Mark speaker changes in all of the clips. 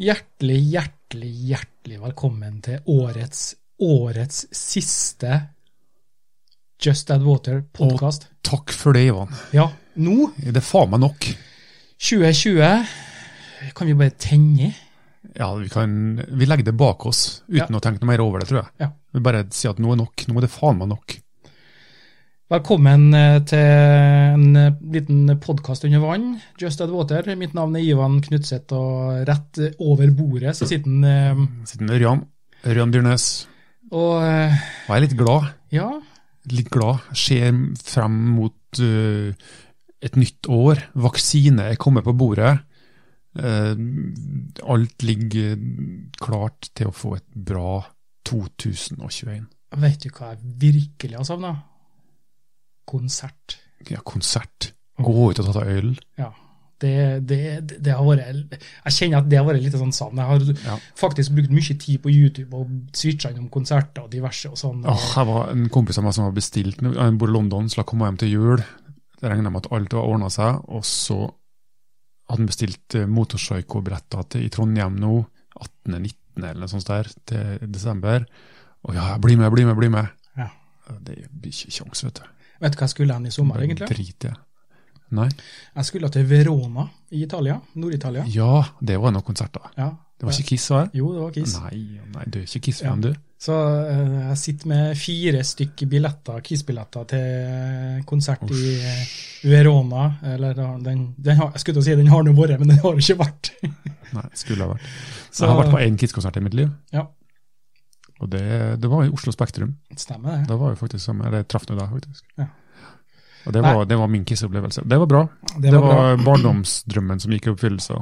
Speaker 1: hjertelig, hjertelig, hjertelig velkommen til årets, årets siste Just Add Water-podkast.
Speaker 2: Takk for det, Ivan.
Speaker 1: Ja, nå,
Speaker 2: Det er faen meg nok.
Speaker 1: 2020, kan vi bare tenne i?
Speaker 2: Ja, vi, kan, vi legger det bak oss uten
Speaker 1: Ja.
Speaker 2: å tenke noe mer over det, tror jeg.
Speaker 1: Ja.
Speaker 2: Vi bare sier at nå er nok. Nå er det faen meg nok.
Speaker 1: Velkommen eh, til en eh, liten podkast under vann, Just Add Water. Mitt navn er Ivan Knutseth, og rett eh, over bordet så sitter han eh,
Speaker 2: Sitter med Ørjan. Ørjan Dyrnes.
Speaker 1: Og eh,
Speaker 2: Og jeg er litt glad.
Speaker 1: ja,
Speaker 2: Litt glad. Ser frem mot øh, et nytt år. Vaksine er kommet på bordet. Eh, alt ligger klart til å få et bra 2021.
Speaker 1: vet du hva jeg virkelig har savna? Konsert.
Speaker 2: Ja, konsert. Gå ut og ta deg øl.
Speaker 1: Ja. Det, det, det- det har vært Jeg kjenner at det har vært litt sånn savn. Jeg har
Speaker 2: Ja.
Speaker 1: faktisk brukt mye tid på YouTube og switcha innom konserter og diverse og sånn.
Speaker 2: Åh, jeg var en kompis av meg som hadde bestilt noe. Han bor i London, så la komme hjem til jul. Det regnet med at alt var ordna seg. Og så hadde han bestilt eh, motorpsycho-billetter til- i Trondheim nå, 18.-19. eller noe sånt der, til desember. Og ja, bli med, bli med, bli med.
Speaker 1: Ja.
Speaker 2: Det blir ikke kjangs, vet du.
Speaker 1: Vet du hva jeg skulle hen i sommer, egentlig?
Speaker 2: Drit i det. Nei.
Speaker 1: Jeg skulle til Verona i Italia. Nord-Italia.
Speaker 2: Ja, det var noen konserter.
Speaker 1: Ja.
Speaker 2: Det var ikke Kiss, var det?
Speaker 1: Jo, det var Kiss.
Speaker 2: Nei, nei, du er ikke Kiss,
Speaker 1: Ja.
Speaker 2: hvem du?
Speaker 1: Så eh, jeg sitter med fire stykk billetter, Kiss-billetter til konsert i eh, Verona. Eller da har den, den har, Jeg skulle til å si den har nå vært, men den har ikke vært.
Speaker 2: Nei, skulle ha vært.
Speaker 1: Så-
Speaker 2: Jeg har vært på én Kiss-konsert i mitt liv,
Speaker 1: Ja,
Speaker 2: og det, det var i Oslo Spektrum.
Speaker 1: stemmer det.
Speaker 2: Da var jo faktisk som, eller jeg traff nå deg, faktisk.
Speaker 1: Ja.
Speaker 2: Og det var, det var min kisseopplevelse. Det var bra.
Speaker 1: Det var bra.
Speaker 2: barndomsdrømmen som gikk i oppfyllelse.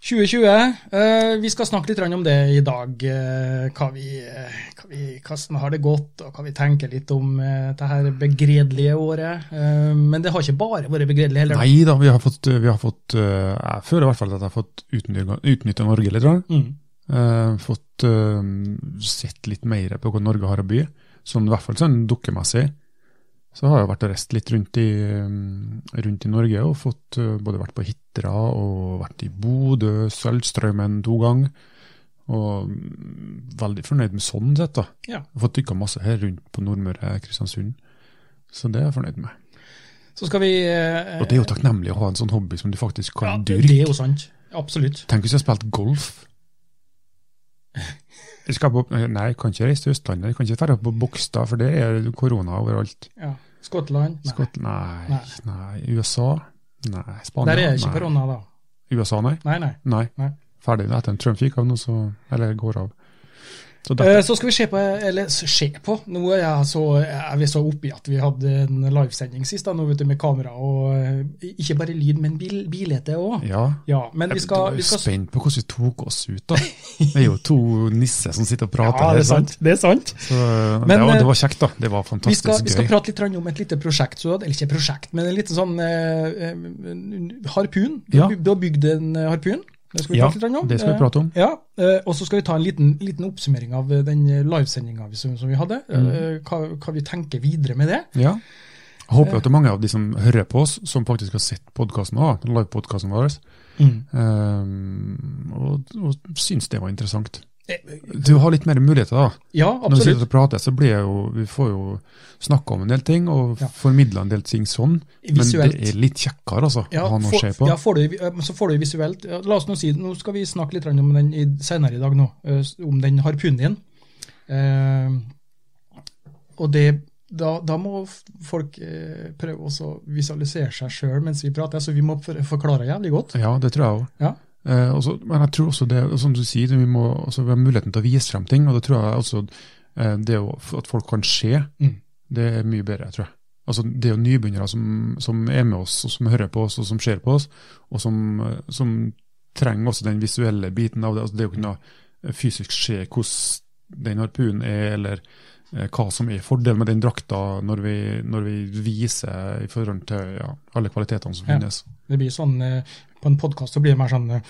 Speaker 1: 2020. eh, vi skal snakke litt grann om det i dag. eh, hva vi, eh, hva vi, hvordan har det gått, og hva vi tenker litt om eh, det her begredelige året. Eh, men det har ikke bare vært begredelig heller.
Speaker 2: Nei da, vi har fått, vi har fått eh, Jeg føler i hvert fall at jeg har fått utnytta Norge litt. da.
Speaker 1: Mm.
Speaker 2: Eh, fått eh, sett litt mer på hva Norge har å by. Sånn, I hvert fall sånn dukkemessig. Så har jeg vært og reist litt rundt i, eh, rundt i Norge og fått eh, både vært på Hitra og vært i Bodø, Sølvstraumen to ganger. Og mm, veldig fornøyd med sånn sett, da.
Speaker 1: Ja.
Speaker 2: Jeg har fått dykka masse her rundt på Nordmøre, Kristiansund. Så det er jeg fornøyd med.
Speaker 1: Så skal vi eh,
Speaker 2: Og det er jo takknemlig å ha en sånn hobby som du faktisk
Speaker 1: ja,
Speaker 2: kan
Speaker 1: det
Speaker 2: dyrke.
Speaker 1: er jo sant. Absolutt.
Speaker 2: Tenk hvis jeg spilte golf. Jeg skal på, nei, jeg kan ikke reise til Østlandet. Jeg kan ikke dra på Bogstad, for det er korona overalt.
Speaker 1: Ja. Skottland? Nei.
Speaker 2: Skott, nei,
Speaker 1: Nei.
Speaker 2: nei. USA? Nei. Spania?
Speaker 1: Der er det ikke
Speaker 2: Nei.
Speaker 1: korona, da.
Speaker 2: USA, nei.
Speaker 1: Nei, nei.
Speaker 2: Nei.
Speaker 1: Nei.
Speaker 2: Ferdig etter en Trump gikk av nå, så Eller går av. Så der,
Speaker 1: Eh, Så skal vi se på, eller s- se på, nå er jeg så, er vi så oppi at vi hadde en livesending sist da, nå vet du, med kamera og eh, ikke bare lyd, men bil, bilete også.
Speaker 2: ja.
Speaker 1: Ja, men vi skal,
Speaker 2: jeg
Speaker 1: vi
Speaker 2: er jo
Speaker 1: skal
Speaker 2: spent på hvordan vi tok oss ut, da. Det er jo to nisser som sitter og prater
Speaker 1: Ja,
Speaker 2: her.
Speaker 1: det er sant. Det er sant.
Speaker 2: Så, eh,
Speaker 1: Men,
Speaker 2: det,
Speaker 1: eh,
Speaker 2: var, det var kjekt, da. Det var
Speaker 1: Vi
Speaker 2: fantastisk
Speaker 1: skal, vi skal
Speaker 2: gøy.
Speaker 1: prate litt grann om et lite prosjekt, så, eller ikke prosjekt, men en liten sånn eh, eh, harpun. Du,
Speaker 2: Ja.
Speaker 1: har byg- du har bygd en eh, harpun. Det skal vi
Speaker 2: Ja,
Speaker 1: prate litt grann om.
Speaker 2: det skal vi prate om.
Speaker 1: Eh, Ja, eh, Og så skal vi ta en liten, liten oppsummering av eh, den livesendinga som, som vi hadde.
Speaker 2: Mm.
Speaker 1: eh, Hva, hva vi tenker videre med det.
Speaker 2: Ja. Jeg håper at det er mange av de som hører på oss, som faktisk har sett podkasten òg, livepodkasten vår, Mm. ehm, og, og syns det var interessant.
Speaker 1: Eh,
Speaker 2: Du har litt mer muligheter, da.
Speaker 1: Ja,
Speaker 2: Når vi
Speaker 1: absolutt.
Speaker 2: sitter og prater, så blir jeg jo, vi får jo snakka om en del ting, og
Speaker 1: Ja.
Speaker 2: formidla en del ting sånn.
Speaker 1: Visuelt.
Speaker 2: Men det er litt kjekkere, altså.
Speaker 1: Ja,
Speaker 2: å ha noe å
Speaker 1: få-
Speaker 2: se på.
Speaker 1: ja, får du, eh, så får du visuelt. Ja, La oss nå si, nå skal vi snakke litt grann om den i, senere i dag, nå, eh, s- om den harpunen din. Eh, og det, da, da må f- folk eh, prøve også å visualisere seg sjøl mens vi prater, så vi må for, forklare jævlig godt.
Speaker 2: Ja, det tror jeg òg.
Speaker 1: Ja.
Speaker 2: Eh, og så- men jeg tror også det, og som du sier, vi må også ha muligheten til å vise frem ting. Og det tror jeg også eh, det å, at folk kan se,
Speaker 1: Mm.
Speaker 2: det er mye bedre, tror jeg. Altså, det er jo nybegynnere som, som er med oss, og som hører på oss, og som ser på oss, og som, eh, som trenger også den visuelle biten av det. Altså, det å kunne fysisk se hvordan den harpunen er, eller eh, hva som er fordelen med den drakta, når vi, når vi viser i forhold til ja, alle kvalitetene som
Speaker 1: Ja.
Speaker 2: finnes.
Speaker 1: Det blir sånn, eh, På en podkast blir det mer sånn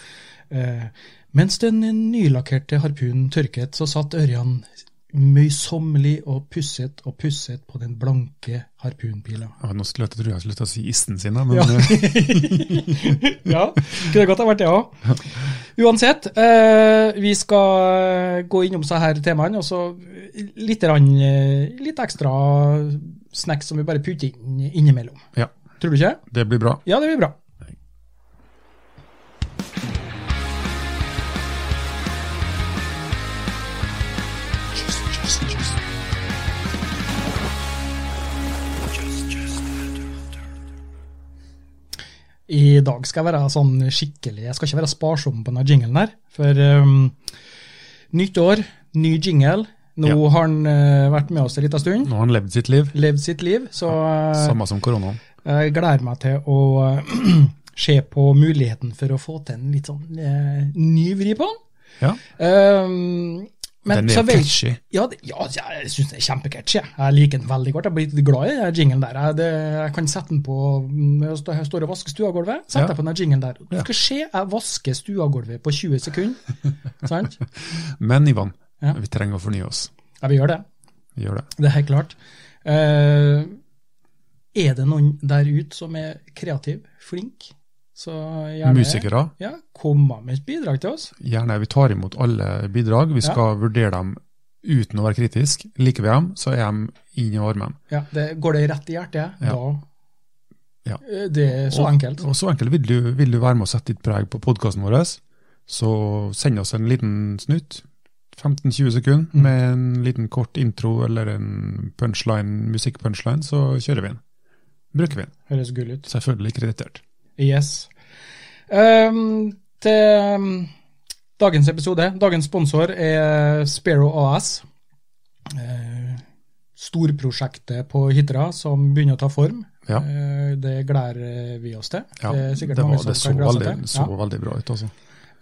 Speaker 1: eh, Mens den nylakkerte harpunen tørket, så satt Ørjan møysommelig og pusset og pusset på den blanke harpunpila.
Speaker 2: Ja, nå skulle jeg tro jeg skulle til å si isten sin, da, men
Speaker 1: Ja.
Speaker 2: eh,
Speaker 1: ja, kunne godt ha vært det òg. Uansett, eh, vi skal eh, gå innom så her temaene, og så litt, rann, eh, litt ekstra snacks som vi bare putter inn innimellom.
Speaker 2: ja,
Speaker 1: Tror du ikke?
Speaker 2: det blir bra.
Speaker 1: Ja, det blir bra. I dag skal jeg være sånn skikkelig Jeg skal ikke være sparsom på denne jinglen her. For ehm, nytt år, ny jingle. Nå
Speaker 2: Ja.
Speaker 1: har han eh, vært med oss en liten stund.
Speaker 2: Nå har han levd sitt liv,
Speaker 1: Levd sitt liv. Så eh,
Speaker 2: samme som koronaen.
Speaker 1: jeg gleder meg til å eh, se på muligheten for å få til en litt sånn eh, ny vri på den.
Speaker 2: Ja,
Speaker 1: Ehm, men
Speaker 2: den
Speaker 1: så
Speaker 2: er
Speaker 1: vet-
Speaker 2: catchy.
Speaker 1: Ja, det- ja altså, jeg syns den er kjempecatchy. Jeg. jeg liker den veldig godt. Jeg blir litt glad i den jinglen der. Jeg, det, jeg kan sette den på mm, jeg står- jeg står og vasker stuegulvet. Sett
Speaker 2: Ja.
Speaker 1: deg på den jinglen der. Du
Speaker 2: Ja.
Speaker 1: skal se, jeg vasker stuegulvet på 20 sekunder. Sant?
Speaker 2: Men Ivan,
Speaker 1: Ja.
Speaker 2: vi trenger å fornye oss.
Speaker 1: Ja, vi gjør det.
Speaker 2: Vi gjør det.
Speaker 1: Det er helt klart. Eh, er det noen der ute som er kreativ, flink, så gjerne
Speaker 2: Musikere,
Speaker 1: Ja, komme med et bidrag til oss.
Speaker 2: gjerne vi tar imot alle bidrag. Vi skal vurdere dem uten å være kritisk. Liker vi dem, så er de inn i armen.
Speaker 1: Ja, det, går det rett i hjertet,
Speaker 2: Ja.
Speaker 1: da
Speaker 2: Ja.
Speaker 1: Eh, Det er så
Speaker 2: Og-
Speaker 1: enkelt.
Speaker 2: Og så enkelt vil du, vil du være med og sette ditt preg på podkasten vår, så send oss en liten snutt. 15-20 sekunder
Speaker 1: Mm.
Speaker 2: med en liten kort intro eller en punchline, musikkpunchline, så kjører vi den. Bruker vi den.
Speaker 1: Høres gull ut.
Speaker 2: Selvfølgelig kreditert.
Speaker 1: Yes. Ehm, til um, dagens episode. Dagens sponsor er Sparrow AS. Eh, storprosjektet på Hitra som begynner å ta form.
Speaker 2: Ja.
Speaker 1: Eh, det gleder vi oss til.
Speaker 2: Ja,
Speaker 1: det er sikkert
Speaker 2: det,
Speaker 1: mange
Speaker 2: var,
Speaker 1: som
Speaker 2: det så,
Speaker 1: kan glede seg
Speaker 2: veldig,
Speaker 1: til.
Speaker 2: så veldig bra ut, altså.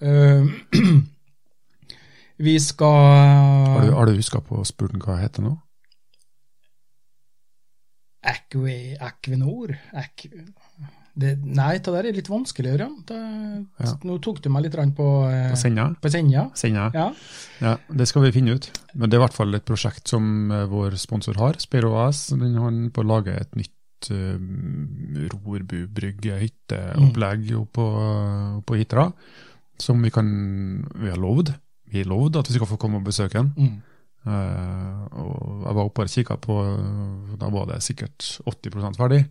Speaker 1: Ja. Eh, vi skal
Speaker 2: Har du, har du huska på å spurt den hva jeg heter nå?
Speaker 1: Aqui, Aquinor Aqu- det, Nei, det der er litt vanskeligere. Det,
Speaker 2: Ja.
Speaker 1: Nå tok du meg litt rann på, eh,
Speaker 2: På Senja?
Speaker 1: på Senja.
Speaker 2: Senja.
Speaker 1: Ja.
Speaker 2: Ja, det skal vi finne ut. Men det er i hvert fall et prosjekt som eh, vår sponsor har, Spiro AS. Den har den på å lage et nytt uh, rorbubrygge,
Speaker 1: Mm.
Speaker 2: hytteopplegg oppå, oppå Hitra. Som vi kan Vi har lovd. Vi har lovd at vi skal få komme og besøke den.
Speaker 1: Mm.
Speaker 2: Eh, og jeg var oppe og kikka på Da var det sikkert 80 ferdig.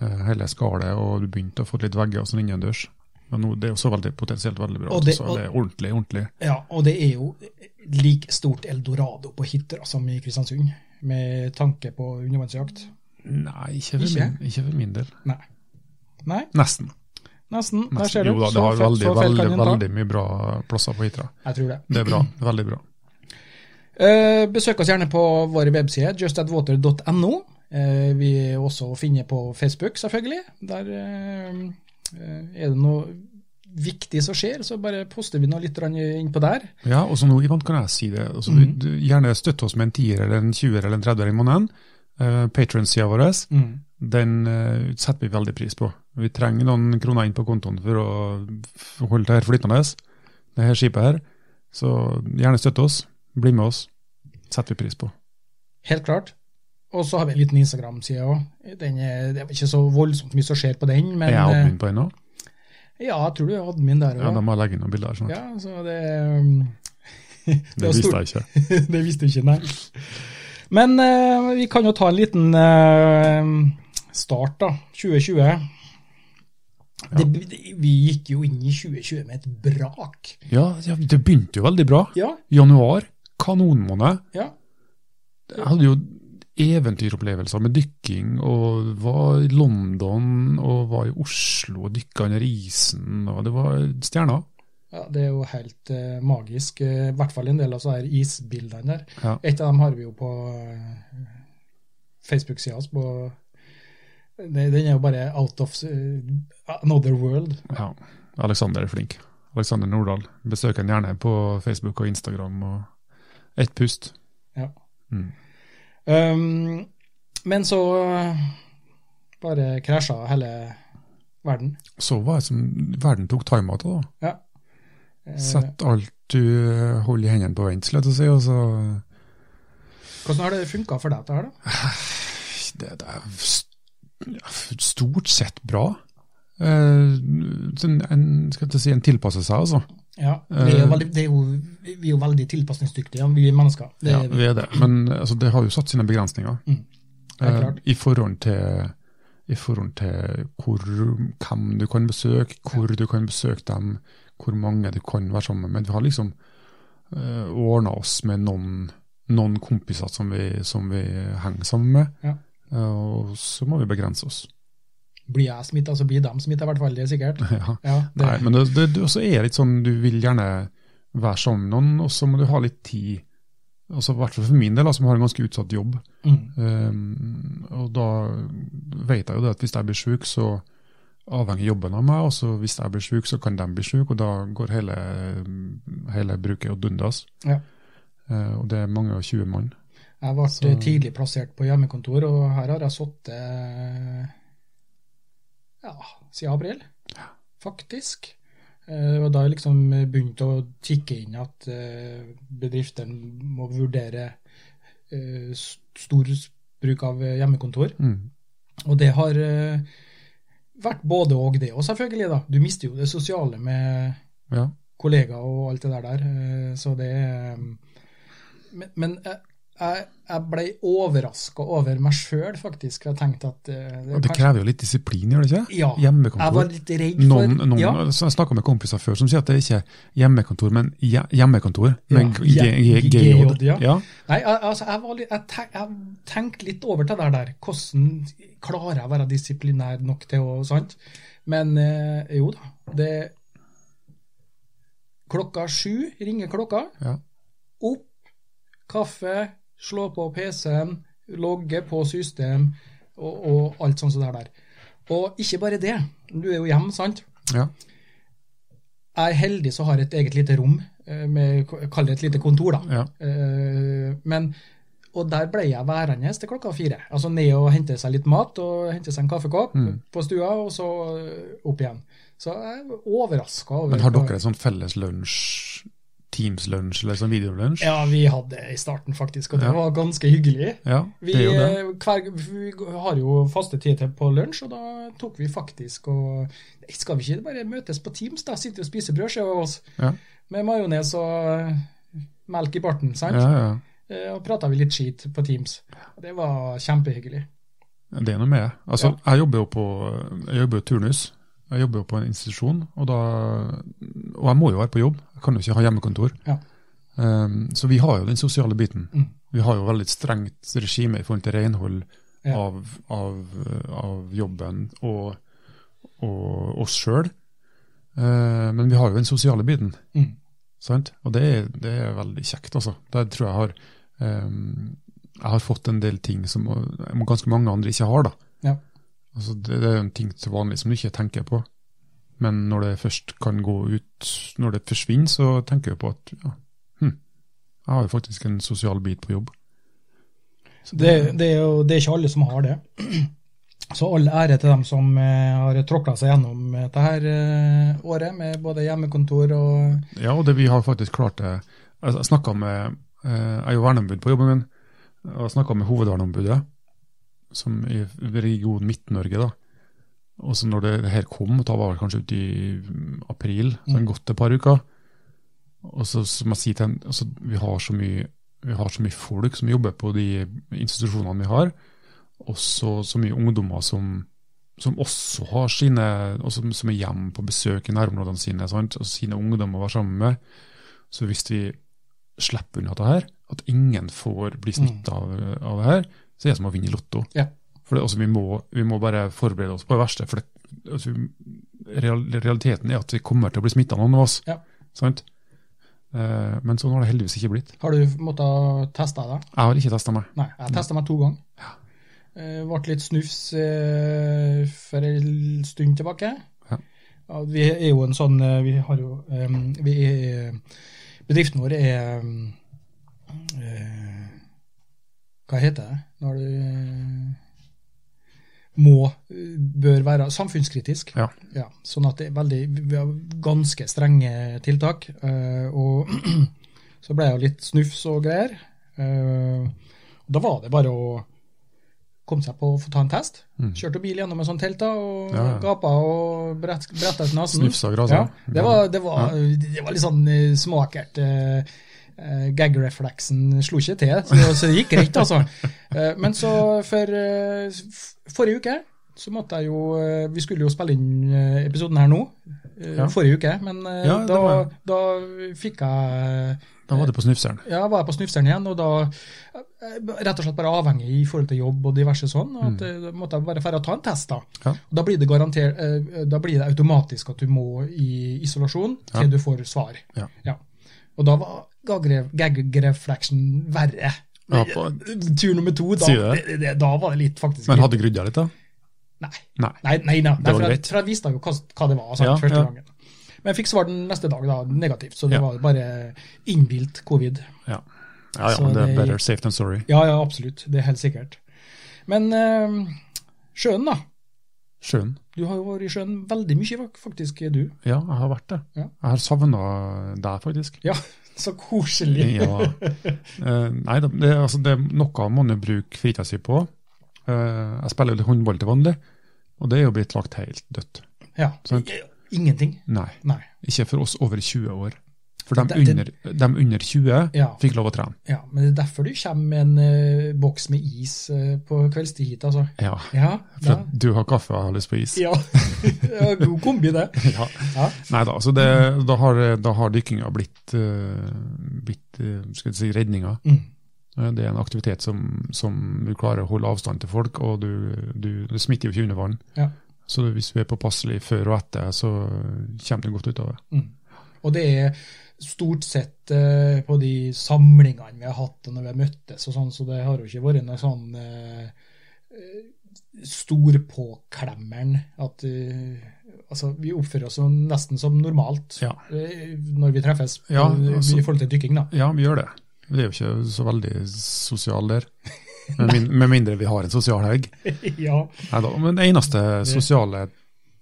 Speaker 2: Eh, hele skallet, og du begynte å få litt vegger og sånn innendørs. Men nå, det er jo så veldig, potensielt veldig bra.
Speaker 1: Og det-
Speaker 2: så det er ordentlig, ordentlig.
Speaker 1: Ja, og det er jo like stort eldorado på Hitra som i Kristiansund, med tanke på undervannsjakt.
Speaker 2: Nei, ikke for,
Speaker 1: Ikke?
Speaker 2: Min, ikke for min del.
Speaker 1: Nei. Nei,
Speaker 2: Nesten.
Speaker 1: nesten. Der
Speaker 2: nesten.
Speaker 1: ser du.
Speaker 2: Jo da, det
Speaker 1: Så
Speaker 2: har
Speaker 1: fett-
Speaker 2: veldig,
Speaker 1: så fett
Speaker 2: veldig,
Speaker 1: kan den ta.
Speaker 2: veldig mye bra plasser på Hitra.
Speaker 1: Jeg tror det.
Speaker 2: Det er bra. Veldig bra.
Speaker 1: Eh, besøk oss gjerne på våre websider, justadwater.no. Eh, vi er også å finne på Facebook, selvfølgelig. Der eh, eh, er det noe viktig som skjer, så bare poster vi noe litt grann innpå der.
Speaker 2: Ja, og så nå, Ivan, kan jeg si det. Altså,
Speaker 1: Mhm.
Speaker 2: du- Gjerne støtte oss med en tier eller en 20 eller en 30 i måneden. Uh, Patronsida vår, den eh, setter vi veldig pris på. Vi trenger noen kroner inn på kontoen for å f- holde det her flytende, det her skipet her. Så gjerne støtte oss. Bli med oss. Setter vi pris på.
Speaker 1: Helt klart. Og så har vi en liten Instagram-side òg. Det er ikke så voldsomt mye som skjer på den, men
Speaker 2: er jeg
Speaker 1: eh,
Speaker 2: admin på den nå?
Speaker 1: Ja, jeg tror du er admin der
Speaker 2: Ja, da
Speaker 1: òg.
Speaker 2: må jeg legge inn noen bilder. Sånn.
Speaker 1: Ja, så det um,
Speaker 2: det
Speaker 1: var
Speaker 2: visste
Speaker 1: stort-
Speaker 2: jeg ikke.
Speaker 1: det visste du ikke, nei. Men eh, vi kan jo ta en liten eh, start, da. 2020. Det, vi gikk jo inn i 2020 med et brak.
Speaker 2: Ja, ja, det begynte jo veldig bra.
Speaker 1: Ja,
Speaker 2: Januar, kanonmåned.
Speaker 1: ja.
Speaker 2: Jeg hadde jo eventyropplevelser med dykking, og var i London og var i Oslo og dykka under isen. og Det var stjerner.
Speaker 1: Ja, Det er jo helt eh, magisk. eh, I hvert fall en del av sånne her isbildene der.
Speaker 2: Ja.
Speaker 1: Et av dem har vi jo på eh, Facebook-sida vår. på- Den den er jo bare out of eh, another world.
Speaker 2: ja. Aleksander er flink. Aleksander Nordahl. Besøk ham gjerne på Facebook og Instagram. og Ett pust.
Speaker 1: Ja.
Speaker 2: Mm.
Speaker 1: Um, men så eh, bare krasja hele verden.
Speaker 2: Så var det som verden tok timeout. da.
Speaker 1: Ja. Eh,
Speaker 2: Sett alt du holder i hendene på vent, skulle jeg til å si. Og så
Speaker 1: Hvordan har det funka for deg, dette her, da?
Speaker 2: det, det er st- ja, stort sett bra. Eh, sånn en, skal jeg si, en tilpasser seg, altså.
Speaker 1: Ja, vi
Speaker 2: Eh.
Speaker 1: er jo veldig, det er jo, vi er jo veldig tilpasningsdyktige, vi mennesker. Det,
Speaker 2: ja,
Speaker 1: er vi.
Speaker 2: vi er det. Men altså, det har jo satt sine begrensninger.
Speaker 1: Mm. Helt
Speaker 2: Eh,
Speaker 1: klart.
Speaker 2: I forhold til, i forhold til hvor, hvem du kan besøke, hvor du kan besøke dem, hvor mange du kan være sammen med. Vi har liksom uh, ordna oss med noen, noen kompiser som vi, som vi henger sammen med.
Speaker 1: Ja.
Speaker 2: Eh, og så må vi begrense oss.
Speaker 1: Blir jeg smitta, så blir de smitta, altså i hvert fall. Det er sikkert.
Speaker 2: ja.
Speaker 1: Ja, det,
Speaker 2: Nei, men det, det, det også er litt sånn, du vil gjerne være sammen med noen, og så må du ha litt tid. Altså, I hvert fall for min del, da, som har en ganske utsatt jobb.
Speaker 1: mm,
Speaker 2: Ehm, og da vet jeg jo det at hvis jeg blir syk, så avhenger jobben av meg. Og så hvis jeg blir syk, så kan de bli syke, og da går hele, hele bruket og dundas.
Speaker 1: Ja.
Speaker 2: Eh, og det er mange og 20 mann.
Speaker 1: jeg ble
Speaker 2: Så-
Speaker 1: tidlig plassert på hjemmekontor, og her har jeg sittet ja, siden april, faktisk. Eh, Og da har jeg liksom begynt å tikke inn at eh, bedriftene må vurdere eh, s- stor bruk av hjemmekontor.
Speaker 2: Mm.
Speaker 1: Og det har eh, vært både og det, og selvfølgelig, da. Du mister jo det sosiale med
Speaker 2: Ja.
Speaker 1: kollegaer og alt det der der. eh, Så det er, Men, men jeg, jeg jeg ble overraska over meg sjøl, faktisk. for Jeg tenkte at eh,
Speaker 2: Og det krever jo litt disiplin, gjør det ikke?
Speaker 1: ja, jeg var
Speaker 2: Hjemmekontor.
Speaker 1: litt redd for
Speaker 2: Noen, noen,
Speaker 1: ja,
Speaker 2: så Jeg snakka med kompiser før som sier at det er ikke er hjemmekontor, men hje- hjemmekontor. Men
Speaker 1: Ja,
Speaker 2: G-
Speaker 1: G-
Speaker 2: G- G-
Speaker 1: G- ja.
Speaker 2: Ja.
Speaker 1: Nei, al- altså, jeg, var litt, jeg, tenk, jeg tenkte litt over til det der. Hvordan klarer jeg å være disiplinær nok til å sant? Men eh, jo da, det Klokka sju ringer klokka.
Speaker 2: Ja.
Speaker 1: Opp, kaffe, slå på PC-en, logge på system og, og alt sånt som det der. Og ikke bare det. Du er jo hjemme, sant?
Speaker 2: Ja.
Speaker 1: Jeg er heldig som har et eget lite rom, eh, med, kall det et lite kontor, da.
Speaker 2: ja.
Speaker 1: Eh, men, og der ble jeg værende til klokka fire. Altså ned og hente seg litt mat og hente seg en kaffekopp
Speaker 2: Mm.
Speaker 1: på stua, og så eh, opp igjen. Så jeg er overraska over
Speaker 2: Men har
Speaker 1: hva-
Speaker 2: dere et sånn felles lunsj, Teams-lunsj eller sånn videolunsj?
Speaker 1: Ja, vi hadde det i starten, faktisk, og det
Speaker 2: Ja.
Speaker 1: var ganske hyggelig.
Speaker 2: Ja,
Speaker 1: Vi,
Speaker 2: det er jo det.
Speaker 1: eh, hver, vi har jo faste tider på lunsj, og da tok vi faktisk og Nei, Skal vi ikke bare møtes på Teams, da? Sitte og spise brød, skjeve av oss.
Speaker 2: Ja.
Speaker 1: Med majones og eh, melk i barten, sant?
Speaker 2: Ja, ja.
Speaker 1: Eh, og prata vi litt skit på Teams. Det var kjempehyggelig.
Speaker 2: Det er noe med det. Altså, Jeg jobber jo på jeg jobber jo turnus. Jeg jobber jo på en institusjon, og, da, og jeg må jo være på jobb. Jeg kan jo ikke ha hjemmekontor.
Speaker 1: Ja.
Speaker 2: Um, så vi har jo den sosiale biten.
Speaker 1: Mm.
Speaker 2: Vi har jo veldig strengt regime i forhold til renhold
Speaker 1: Ja.
Speaker 2: av, av, av jobben og, og oss sjøl. Uh, men vi har jo den sosiale biten.
Speaker 1: Mm.
Speaker 2: Sant? Og det er, det er veldig kjekt, altså. Der tror jeg har ehm, Jeg har fått en del ting som eh, ganske mange andre ikke har, da.
Speaker 1: Ja.
Speaker 2: Altså, det, det er en ting til vanlig som du ikke tenker på. Men når det først kan gå ut, når det forsvinner, så tenker du på at ja, hm, jeg har jo faktisk en sosial bit på jobb. Så
Speaker 1: Det, det, er jo, det er ikke alle som har det. Så all ære til dem som eh, har tråkla seg gjennom dette her eh, året med både hjemmekontor og
Speaker 2: Ja, og det vi har faktisk klart det. Jeg jeg snakket med, eh, jeg er jo verneombud på jobben min, og jeg snakket med hovedverneombudet, som i region Midt-Norge da. Og så når det her kom, da var det kanskje ut i mm, april, så det
Speaker 1: Mm.
Speaker 2: har gått et par uker. Og så så må jeg si til henne, altså, vi, har så mye, vi har så mye folk som jobber på de institusjonene vi har, og så så mye ungdommer som, som også har sine, og som, som er hjemme på besøk i nærområdene sine, sant? og sine ungdommer å være sammen med. Så hvis vi slipper unna det her, at ingen får bli smitta av, av det her, så er det som å vinne i lotto.
Speaker 1: Mm. Ja.
Speaker 2: For det, er altså, vi, må, vi må bare forberede oss på det verste. for det, altså, vi- real, Realiteten er at vi kommer til å bli smitta, noen av oss.
Speaker 1: Ja.
Speaker 2: Sant? Eh, men sånn har det heldigvis ikke blitt.
Speaker 1: Har du måttet teste deg?
Speaker 2: Jeg har ikke testa meg.
Speaker 1: Nei, jeg Mm. testa meg to ganger. Eh, Ble litt snufs eh, for en stund tilbake.
Speaker 2: Ja.
Speaker 1: Ja, Vi er jo en sånn eh, Vi har jo eh, vi er, eh, Bedriften vår er eh, Hva heter det når du eh, må, eh, bør være samfunnskritisk?
Speaker 2: Ja.
Speaker 1: Ja, sånn at det er veldig, vi har ganske strenge tiltak. eh, og så ble jeg jo litt snufs og greier. eh, Da var det bare å komme seg på å få ta en test.
Speaker 2: Mm.
Speaker 1: Kjørte bil gjennom en sånn telt da, og
Speaker 2: Ja, ja.
Speaker 1: gapa og brett, bretta ut nesen.
Speaker 2: Snufsa grasa.
Speaker 1: Ja, det, var, det, var, det var litt sånn eh, smakert. eh, eh, Gag-refleksen slo ikke til, så, så det gikk greit, altså. Eh, Men så for eh, f- forrige uke så måtte jeg jo eh, Vi skulle jo spille inn eh, episoden her nå, eh,
Speaker 2: Ja.
Speaker 1: forrige uke, men eh,
Speaker 2: Ja, det
Speaker 1: da,
Speaker 2: var-
Speaker 1: da fikk jeg
Speaker 2: Da var det på snufseren.
Speaker 1: ja, var jeg på Snufseren igjen, og da eh, rett og slett bare avhengig i forhold til jobb og diverse sånn, at
Speaker 2: Mm.
Speaker 1: eh, da måtte jeg bare færre ta en test da.
Speaker 2: Ja.
Speaker 1: Og da blir det garantert, eh, da blir det automatisk at du må i isolasjon til
Speaker 2: Ja.
Speaker 1: du får svar.
Speaker 2: Ja.
Speaker 1: Og da var gagre- gag-refleksen verre.
Speaker 2: Ja, på-
Speaker 1: Tur nummer to, da,
Speaker 2: Sier du det?
Speaker 1: det- det- da var det litt faktisk...
Speaker 2: Men hadde grudda litt, da?
Speaker 1: Nei.
Speaker 2: Nei.
Speaker 1: Nei, nei, nei.
Speaker 2: Det var
Speaker 1: for jeg-
Speaker 2: greit.
Speaker 1: For jeg visste jo hva, hva det var sant,
Speaker 2: Ja,
Speaker 1: første
Speaker 2: ja.
Speaker 1: gangen. Men jeg fikk svar den neste dag, da, negativt, så det
Speaker 2: Ja.
Speaker 1: var bare innbilt covid.
Speaker 2: Ja. Ja, ja,
Speaker 1: Så
Speaker 2: men det er
Speaker 1: det
Speaker 2: better
Speaker 1: gikk-
Speaker 2: safe than sorry.
Speaker 1: Ja, ja, absolutt. Det er helt sikkert. Men eh, sjøen, da.
Speaker 2: Sjøen.
Speaker 1: Du har jo vært i sjøen veldig mye, fak- faktisk, du.
Speaker 2: Ja, jeg har vært det.
Speaker 1: Ja.
Speaker 2: Jeg har savna deg, faktisk.
Speaker 1: Ja, så koselig.
Speaker 2: Ja. Eh, nei, det, det, altså, det er noe man jo bruker fritida si på. Eh, jeg spiller jo litt håndball til vanlig, og det er jo blitt lagt helt dødt.
Speaker 1: Ja.
Speaker 2: Sant.
Speaker 1: Ingenting.
Speaker 2: Nei,
Speaker 1: Nei.
Speaker 2: ikke for oss over 20 år. For dem
Speaker 1: Det- det-
Speaker 2: under, dem under 20
Speaker 1: Ja.
Speaker 2: fikk lov å trene.
Speaker 1: ja, men det er derfor du kommer med en eh, boks med is eh, på kveldstid hit, altså.
Speaker 2: Ja,
Speaker 1: Ja.
Speaker 2: for
Speaker 1: Da.
Speaker 2: at du har kaffe og jeg har lyst på is.
Speaker 1: Ja. Det var God kombi, det.
Speaker 2: Ja.
Speaker 1: Ja.
Speaker 2: Nei da, altså det, da har, da har dykkinga blitt, eh, blitt eh, skal jeg si, redninga.
Speaker 1: Mm.
Speaker 2: Eh, Det er en aktivitet som, som du klarer å holde avstand til folk, og du, du, du smitter jo ikke under vann.
Speaker 1: Ja.
Speaker 2: Så hvis du er påpasselig før og etter, så kommer du godt ut av det.
Speaker 1: Mm. Og det er stort sett eh, på de samlingene vi har hatt og når vi har møttes og sånn, så det har jo ikke vært noe sånn eh, eh, storpåklemmeren at eh, Altså, vi oppfører oss jo nesten som normalt
Speaker 2: Ja.
Speaker 1: eh, når vi treffes
Speaker 2: Ja,
Speaker 1: eh,
Speaker 2: altså-
Speaker 1: i forhold til dykking, da.
Speaker 2: Ja, vi gjør det. Vi er jo ikke så veldig sosiale der. Med, min, med mindre vi har en sosial helg.
Speaker 1: ja.
Speaker 2: Neida, men det eneste sosiale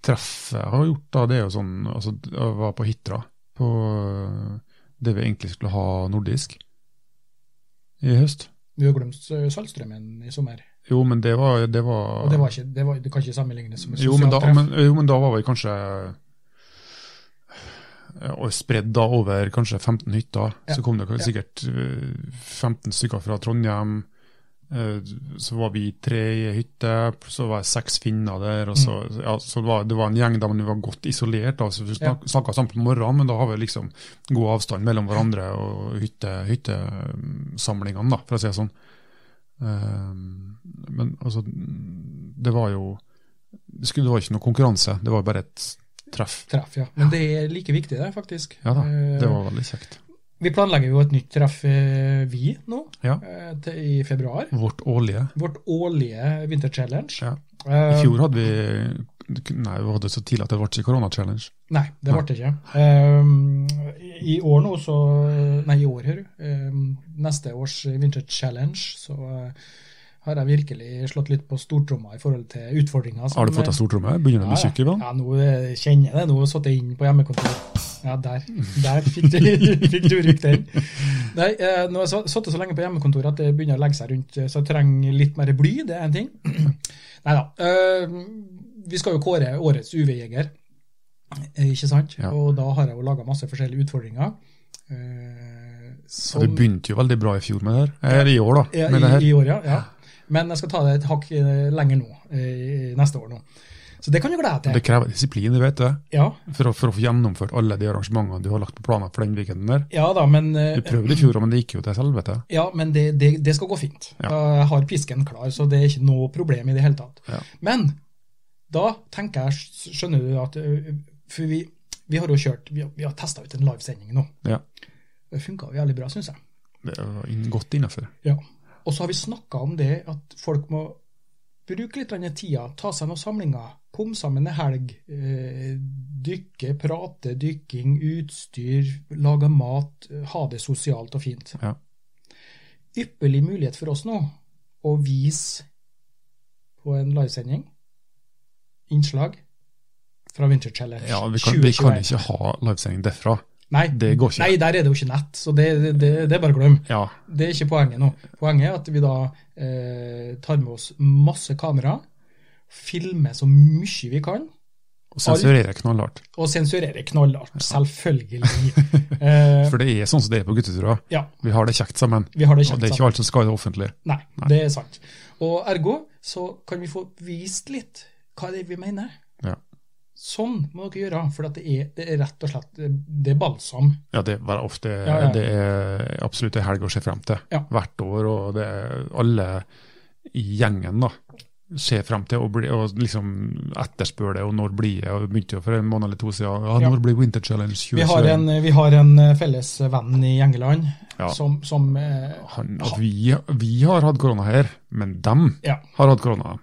Speaker 2: treffet jeg har gjort, da, det er jo sånn altså, Jeg var på Hitra, på eh, det vi egentlig skulle ha nordisk i høst.
Speaker 1: Vi har glemt eh, Saltstrømmen i sommer.
Speaker 2: Jo, men det var, det var,
Speaker 1: Og det, var ikke, det, var, det kan ikke sammenlignes som et
Speaker 2: jo, men
Speaker 1: sosialt
Speaker 2: da,
Speaker 1: treff.
Speaker 2: men, jo, men da var vi kanskje eh, og spredd da over kanskje 15 hytter.
Speaker 1: Ja.
Speaker 2: Så kom det kanskje
Speaker 1: Ja.
Speaker 2: sikkert eh, 15 stykker fra Trondheim. eh, Så var vi tre i ei hytte, så var det seks finner der. Og så, ja, så det, var, det var en gjeng der, men vi var godt isolert. Da, så vi
Speaker 1: Mm. Ja.
Speaker 2: snak, snakka sammen på morgenen, men da har vi liksom god avstand mellom hverandre og hytte, hyttesamlingene, da, for å si det sånn. Eh, Men altså, det var jo det, skulle, det var ikke noe konkurranse, det var bare et treff.
Speaker 1: treff. Ja. Men det er like viktig, det, faktisk.
Speaker 2: Ja da,
Speaker 1: Eh,
Speaker 2: det var veldig kjekt.
Speaker 1: Vi planlegger jo et nytt treff, eh, vi, nå,
Speaker 2: Ja.
Speaker 1: eh, til, i februar.
Speaker 2: Vårt årlige.
Speaker 1: Vårt årlige vinterchallenge.
Speaker 2: Ja. I
Speaker 1: Eh,
Speaker 2: fjor hadde vi Nei, vi hadde så tidlig at det ble ikke korona-challenge.
Speaker 1: Nei, det ble det ikke. Eh, i- I år nå, så Nei, i år, hører du. Eh, neste års vinterchallenge, så eh, har jeg virkelig slått litt på stortromma i forhold til utfordringer. som- eh,
Speaker 2: Har du fått deg stortromme? Begynner du å bli
Speaker 1: ja,
Speaker 2: tjukk i vann?
Speaker 1: Ja, nå eh, kjenner jeg det. Nå satt jeg inn på hjemmekontoret. Ja, der. Der fikk du, fikk du brukt den. Nei, eh, nå har jeg satt- sittet så lenge på hjemmekontoret at det begynner å legge seg rundt, eh, så jeg trenger litt mer bly, det er en ting. Nei da. vi skal jo kåre årets UV-jeger, eh, ikke sant?
Speaker 2: Ja.
Speaker 1: Og da har jeg jo laga masse forskjellige utfordringer. eh,
Speaker 2: Så Du
Speaker 1: som-
Speaker 2: begynte jo veldig bra i fjor med det her. Eh, Eller i år, da.
Speaker 1: ja,
Speaker 2: Med det her.
Speaker 1: i, i år, ja, ja. Men jeg skal ta det et hakk eh, lenger nå, eh, neste år nå. Så det kan du glede deg til.
Speaker 2: Det krever disiplin, du vet det.
Speaker 1: Ja,
Speaker 2: For å, for å få gjennomført alle de arrangementene du har lagt på planen for den weekenden der.
Speaker 1: ja da, men eh,
Speaker 2: Du prøvde i fjor, men det gikk jo til helvete.
Speaker 1: Ja, men det, det, det skal gå fint.
Speaker 2: Ja.
Speaker 1: Jeg har pisken klar, så det er ikke noe problem i det hele tatt.
Speaker 2: Ja.
Speaker 1: Men da tenker jeg, skjønner du at ø, For vi, vi har jo kjørt Vi har, vi har testa ut en livesending nå.
Speaker 2: Ja.
Speaker 1: Det funka jævlig bra, syns jeg.
Speaker 2: Det var inn- godt innafor.
Speaker 1: Ja. Og så har vi snakka om det at folk må bruke litt denne tida, ta seg noen samlinger. Kom sammen en helg. Eh, dykke, prate, dykking, utstyr, lage mat. eh, Ha det sosialt og fint.
Speaker 2: Ja.
Speaker 1: Ypperlig mulighet for oss nå å vise på en livesending innslag fra Winter Challenge
Speaker 2: Ja, vi kan, vi kan ikke ha livesending derfra.
Speaker 1: Nei,
Speaker 2: Det går ikke.
Speaker 1: nei, der er det jo ikke nett, så det, det, det, det er bare å glemme.
Speaker 2: Ja,
Speaker 1: Det er ikke poenget nå. Poenget er at vi da eh, tar med oss masse kamera, filmer så mye vi kan,
Speaker 2: og sensurerer knallhardt.
Speaker 1: og sensurerer knallhardt. Selvfølgelig. Eh,
Speaker 2: For det er sånn som det er på gutteturer.
Speaker 1: ja,
Speaker 2: Vi har det kjekt sammen.
Speaker 1: vi har det
Speaker 2: Og
Speaker 1: kjekt.
Speaker 2: det er
Speaker 1: sant?
Speaker 2: ikke alt som skal i det offentlige.
Speaker 1: Nei, det er sant. Og ergo så kan vi få vist litt hva det er vi mener.
Speaker 2: Ja.
Speaker 1: Sånn må dere gjøre, for at det, er, det er rett og slett det er balsam.
Speaker 2: Ja, det var ofte
Speaker 1: Ja, ja.
Speaker 2: Det er absolutt en helg å se frem til.
Speaker 1: Ja.
Speaker 2: Hvert år, og det er alle i gjengen da, ser frem til og, bli, og liksom etterspør det, og når blir det? Og det begynte jo for en måned eller to siden. Ja,
Speaker 1: Ja.
Speaker 2: når blir Winter Challenge 2021?
Speaker 1: Vi har en, vi har en eh, felles venn i England
Speaker 2: Ja.
Speaker 1: som, som eh,
Speaker 2: Han, at vi, vi har hatt korona her, men dem
Speaker 1: Ja.
Speaker 2: har hatt korona.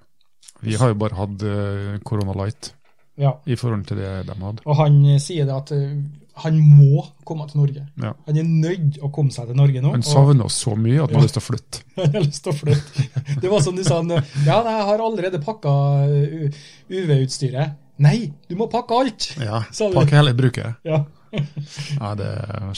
Speaker 2: Vi har jo bare hatt eh, korona light
Speaker 1: ja.
Speaker 2: i forhold til det de hadde.
Speaker 1: Og han eh, sier det at eh, han må komme til Norge.
Speaker 2: Ja.
Speaker 1: Han er nødt å komme seg til Norge nå.
Speaker 2: Han
Speaker 1: og
Speaker 2: savner oss så mye at man har lyst til å flytte.
Speaker 1: han har lyst til å flytte. Det var som du sa han, eh, Ja, nei, jeg har allerede pakka eh, U- UV-utstyret. Nei, du må pakke alt!
Speaker 2: Ja,
Speaker 1: Sa du.
Speaker 2: Pakke hele bruket.
Speaker 1: Ja.
Speaker 2: Ja, det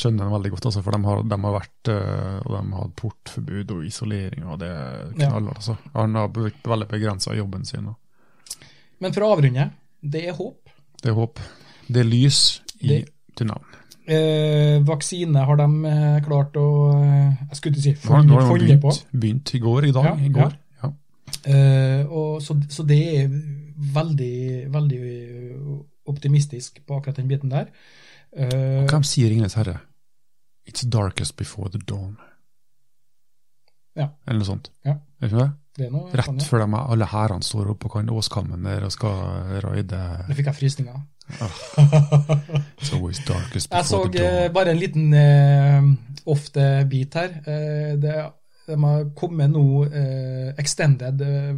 Speaker 2: skjønner jeg veldig godt, altså, for de har, de har vært eh, og de har hatt portforbud og isolering, og det er knallhardt. Altså. Han har blitt veldig begrensa i jobben sin. Og
Speaker 1: Men for å avrunde, det er håp.
Speaker 2: det er håp. Det er lys i
Speaker 1: Det-
Speaker 2: tunnelen.
Speaker 1: Eh, vaksine har de eh, klart å eh, Jeg skulle ikke si
Speaker 2: Nå har nå
Speaker 1: følge
Speaker 2: har de
Speaker 1: følge på.
Speaker 2: begynt, begynt i går, i dag.
Speaker 1: Ja,
Speaker 2: i går. Ja.
Speaker 1: Eh, og, så, så det er veldig, veldig optimistisk på akkurat den biten der. Eh,
Speaker 2: Hvem sier Ringenes herre? It's darkest before the dawn.
Speaker 1: Ja.
Speaker 2: Eller noe sånt.
Speaker 1: Ja.
Speaker 2: Er det ikke det?
Speaker 1: det er noe,
Speaker 2: Rett
Speaker 1: sånn, ja.
Speaker 2: før de, alle hærene står oppe på kan- åskammen der og skal raide.
Speaker 1: Nå fikk jeg frysninger.
Speaker 2: Ah. It's always darkest
Speaker 1: Jeg så
Speaker 2: before the
Speaker 1: eh,
Speaker 2: dawn.
Speaker 1: bare en liten eh, ofte-bit her. Eh, det, de har kommet nå eh, extended eh,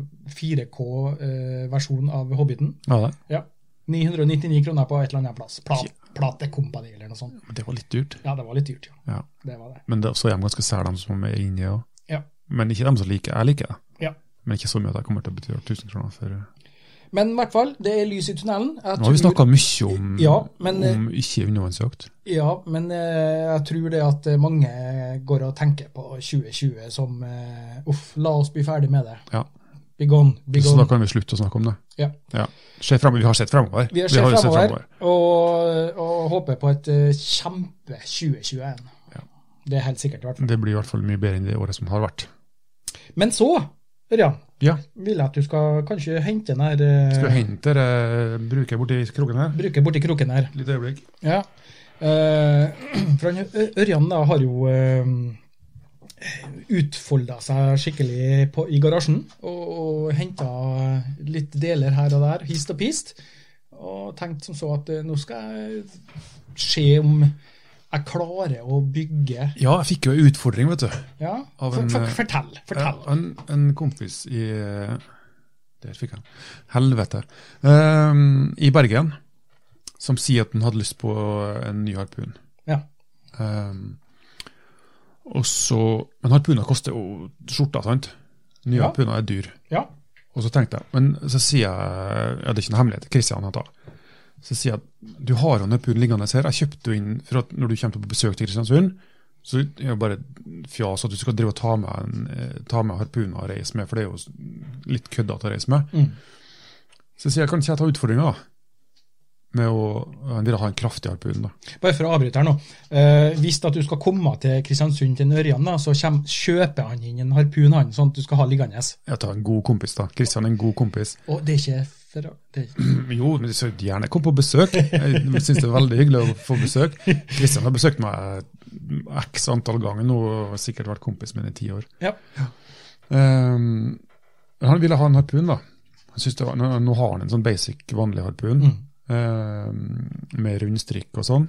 Speaker 1: 4K-versjon av Hobbiten.
Speaker 2: Ja, det.
Speaker 1: Ja. 999 kroner på et eller annet plass. Plat, Plate Company eller noe sånt.
Speaker 2: Men det var litt dyrt.
Speaker 1: Ja, det var litt dyrt, ja.
Speaker 2: Ja.
Speaker 1: Det var det.
Speaker 2: Men det, så er de ganske sære, de som er inni òg.
Speaker 1: Ja.
Speaker 2: Men ikke dem som liker Jeg liker det.
Speaker 1: Ja.
Speaker 2: Men ikke så mye at jeg kommer til å betale 1000 kroner for Nå
Speaker 1: Men i hvert fall, det er lys i tunnelen. Jeg
Speaker 2: har vi
Speaker 1: tror-
Speaker 2: snakka mye om,
Speaker 1: Ja, men, eh,
Speaker 2: om ikke undervannsjakt.
Speaker 1: Ja, men eh, jeg tror det at mange går og tenker på 2020 som eh, Uff, la oss bli ferdig med det.
Speaker 2: Ja.
Speaker 1: Be gone, be
Speaker 2: Så da
Speaker 1: gone.
Speaker 2: kan vi slutte å snakke om det.
Speaker 1: Ja.
Speaker 2: Se frem, vi har sett fremover.
Speaker 1: Vi har sett
Speaker 2: jo
Speaker 1: fremover og, og håper på et eh, kjempe 2021.
Speaker 2: Ja.
Speaker 1: Det er helt sikkert, i hvert fall.
Speaker 2: Det blir i hvert fall mye bedre enn det året som har vært.
Speaker 1: Men så, Ørjan,
Speaker 2: Ja.
Speaker 1: vil jeg at du skal kanskje hente den her
Speaker 2: Skal vi
Speaker 1: eh,
Speaker 2: hente det bruket borti kroken her?
Speaker 1: Bruke borti kroken her.
Speaker 2: Litt øyeblikk.
Speaker 1: Ja. Eh, for han, Ø- Ørjan da har jo uh, utfolda seg skikkelig på, i garasjen og, og henta litt deler her og der, hist og pist. Og tenkt som så at eh, nå skal jeg se om jeg klarer å bygge
Speaker 2: Ja, jeg fikk jo en utfordring, vet du.
Speaker 1: Ja,
Speaker 2: Av
Speaker 1: for,
Speaker 2: en,
Speaker 1: for,
Speaker 2: eh,
Speaker 1: fortell. fortell.
Speaker 2: Ja, en, en kompis i Der fikk han. Helvete. Ehm, I Bergen, som sier at han hadde lyst på en ny harpun.
Speaker 1: Ja.
Speaker 2: Ehm, og så, Men harpuner koster jo skjorta, sant? Nye
Speaker 1: Ja.
Speaker 2: harpuner er dyr.
Speaker 1: Ja.
Speaker 2: Og så tenkte jeg, men så sier jeg ja, Det er ikke noe hemmelighet, Kristian heter han. Så sier jeg du har jo en harpun liggende her. Jeg kjøpte jo inn for at når du kommer på besøk til Kristiansund, så er det jo bare fjas at du skal drive og ta med, en, eh, ta med harpuner og reise med, for det er jo s- litt køddete å reise med.
Speaker 1: Mm.
Speaker 2: Så sier jeg kan ikke jeg ta utfordringa med å Han ville ha en kraftig harpun, da.
Speaker 1: Bare for å avbryte her nå. Eh, hvis at du skal komme til Kristiansund til en Ørjan, da, så kjem, kjøper han inn en harpun, han, sånn at du skal ha liggende.
Speaker 2: Jeg tar en god kompis, da. Kristian er en god kompis.
Speaker 1: Og det er ikke for, det er,
Speaker 2: Jo, men så gjerne kom på besøk. Jeg syns det er veldig hyggelig å få besøk. Kristian har besøkt meg eh, x antall ganger nå og har sikkert vært kompis med meg i ti år.
Speaker 1: Ja.
Speaker 2: Ehm, han ville ha en harpun, da. Han synes det var, nå nå har han en sånn basic, vanlig harpun
Speaker 1: Mm.
Speaker 2: ehm, med rundstrikk og sånn.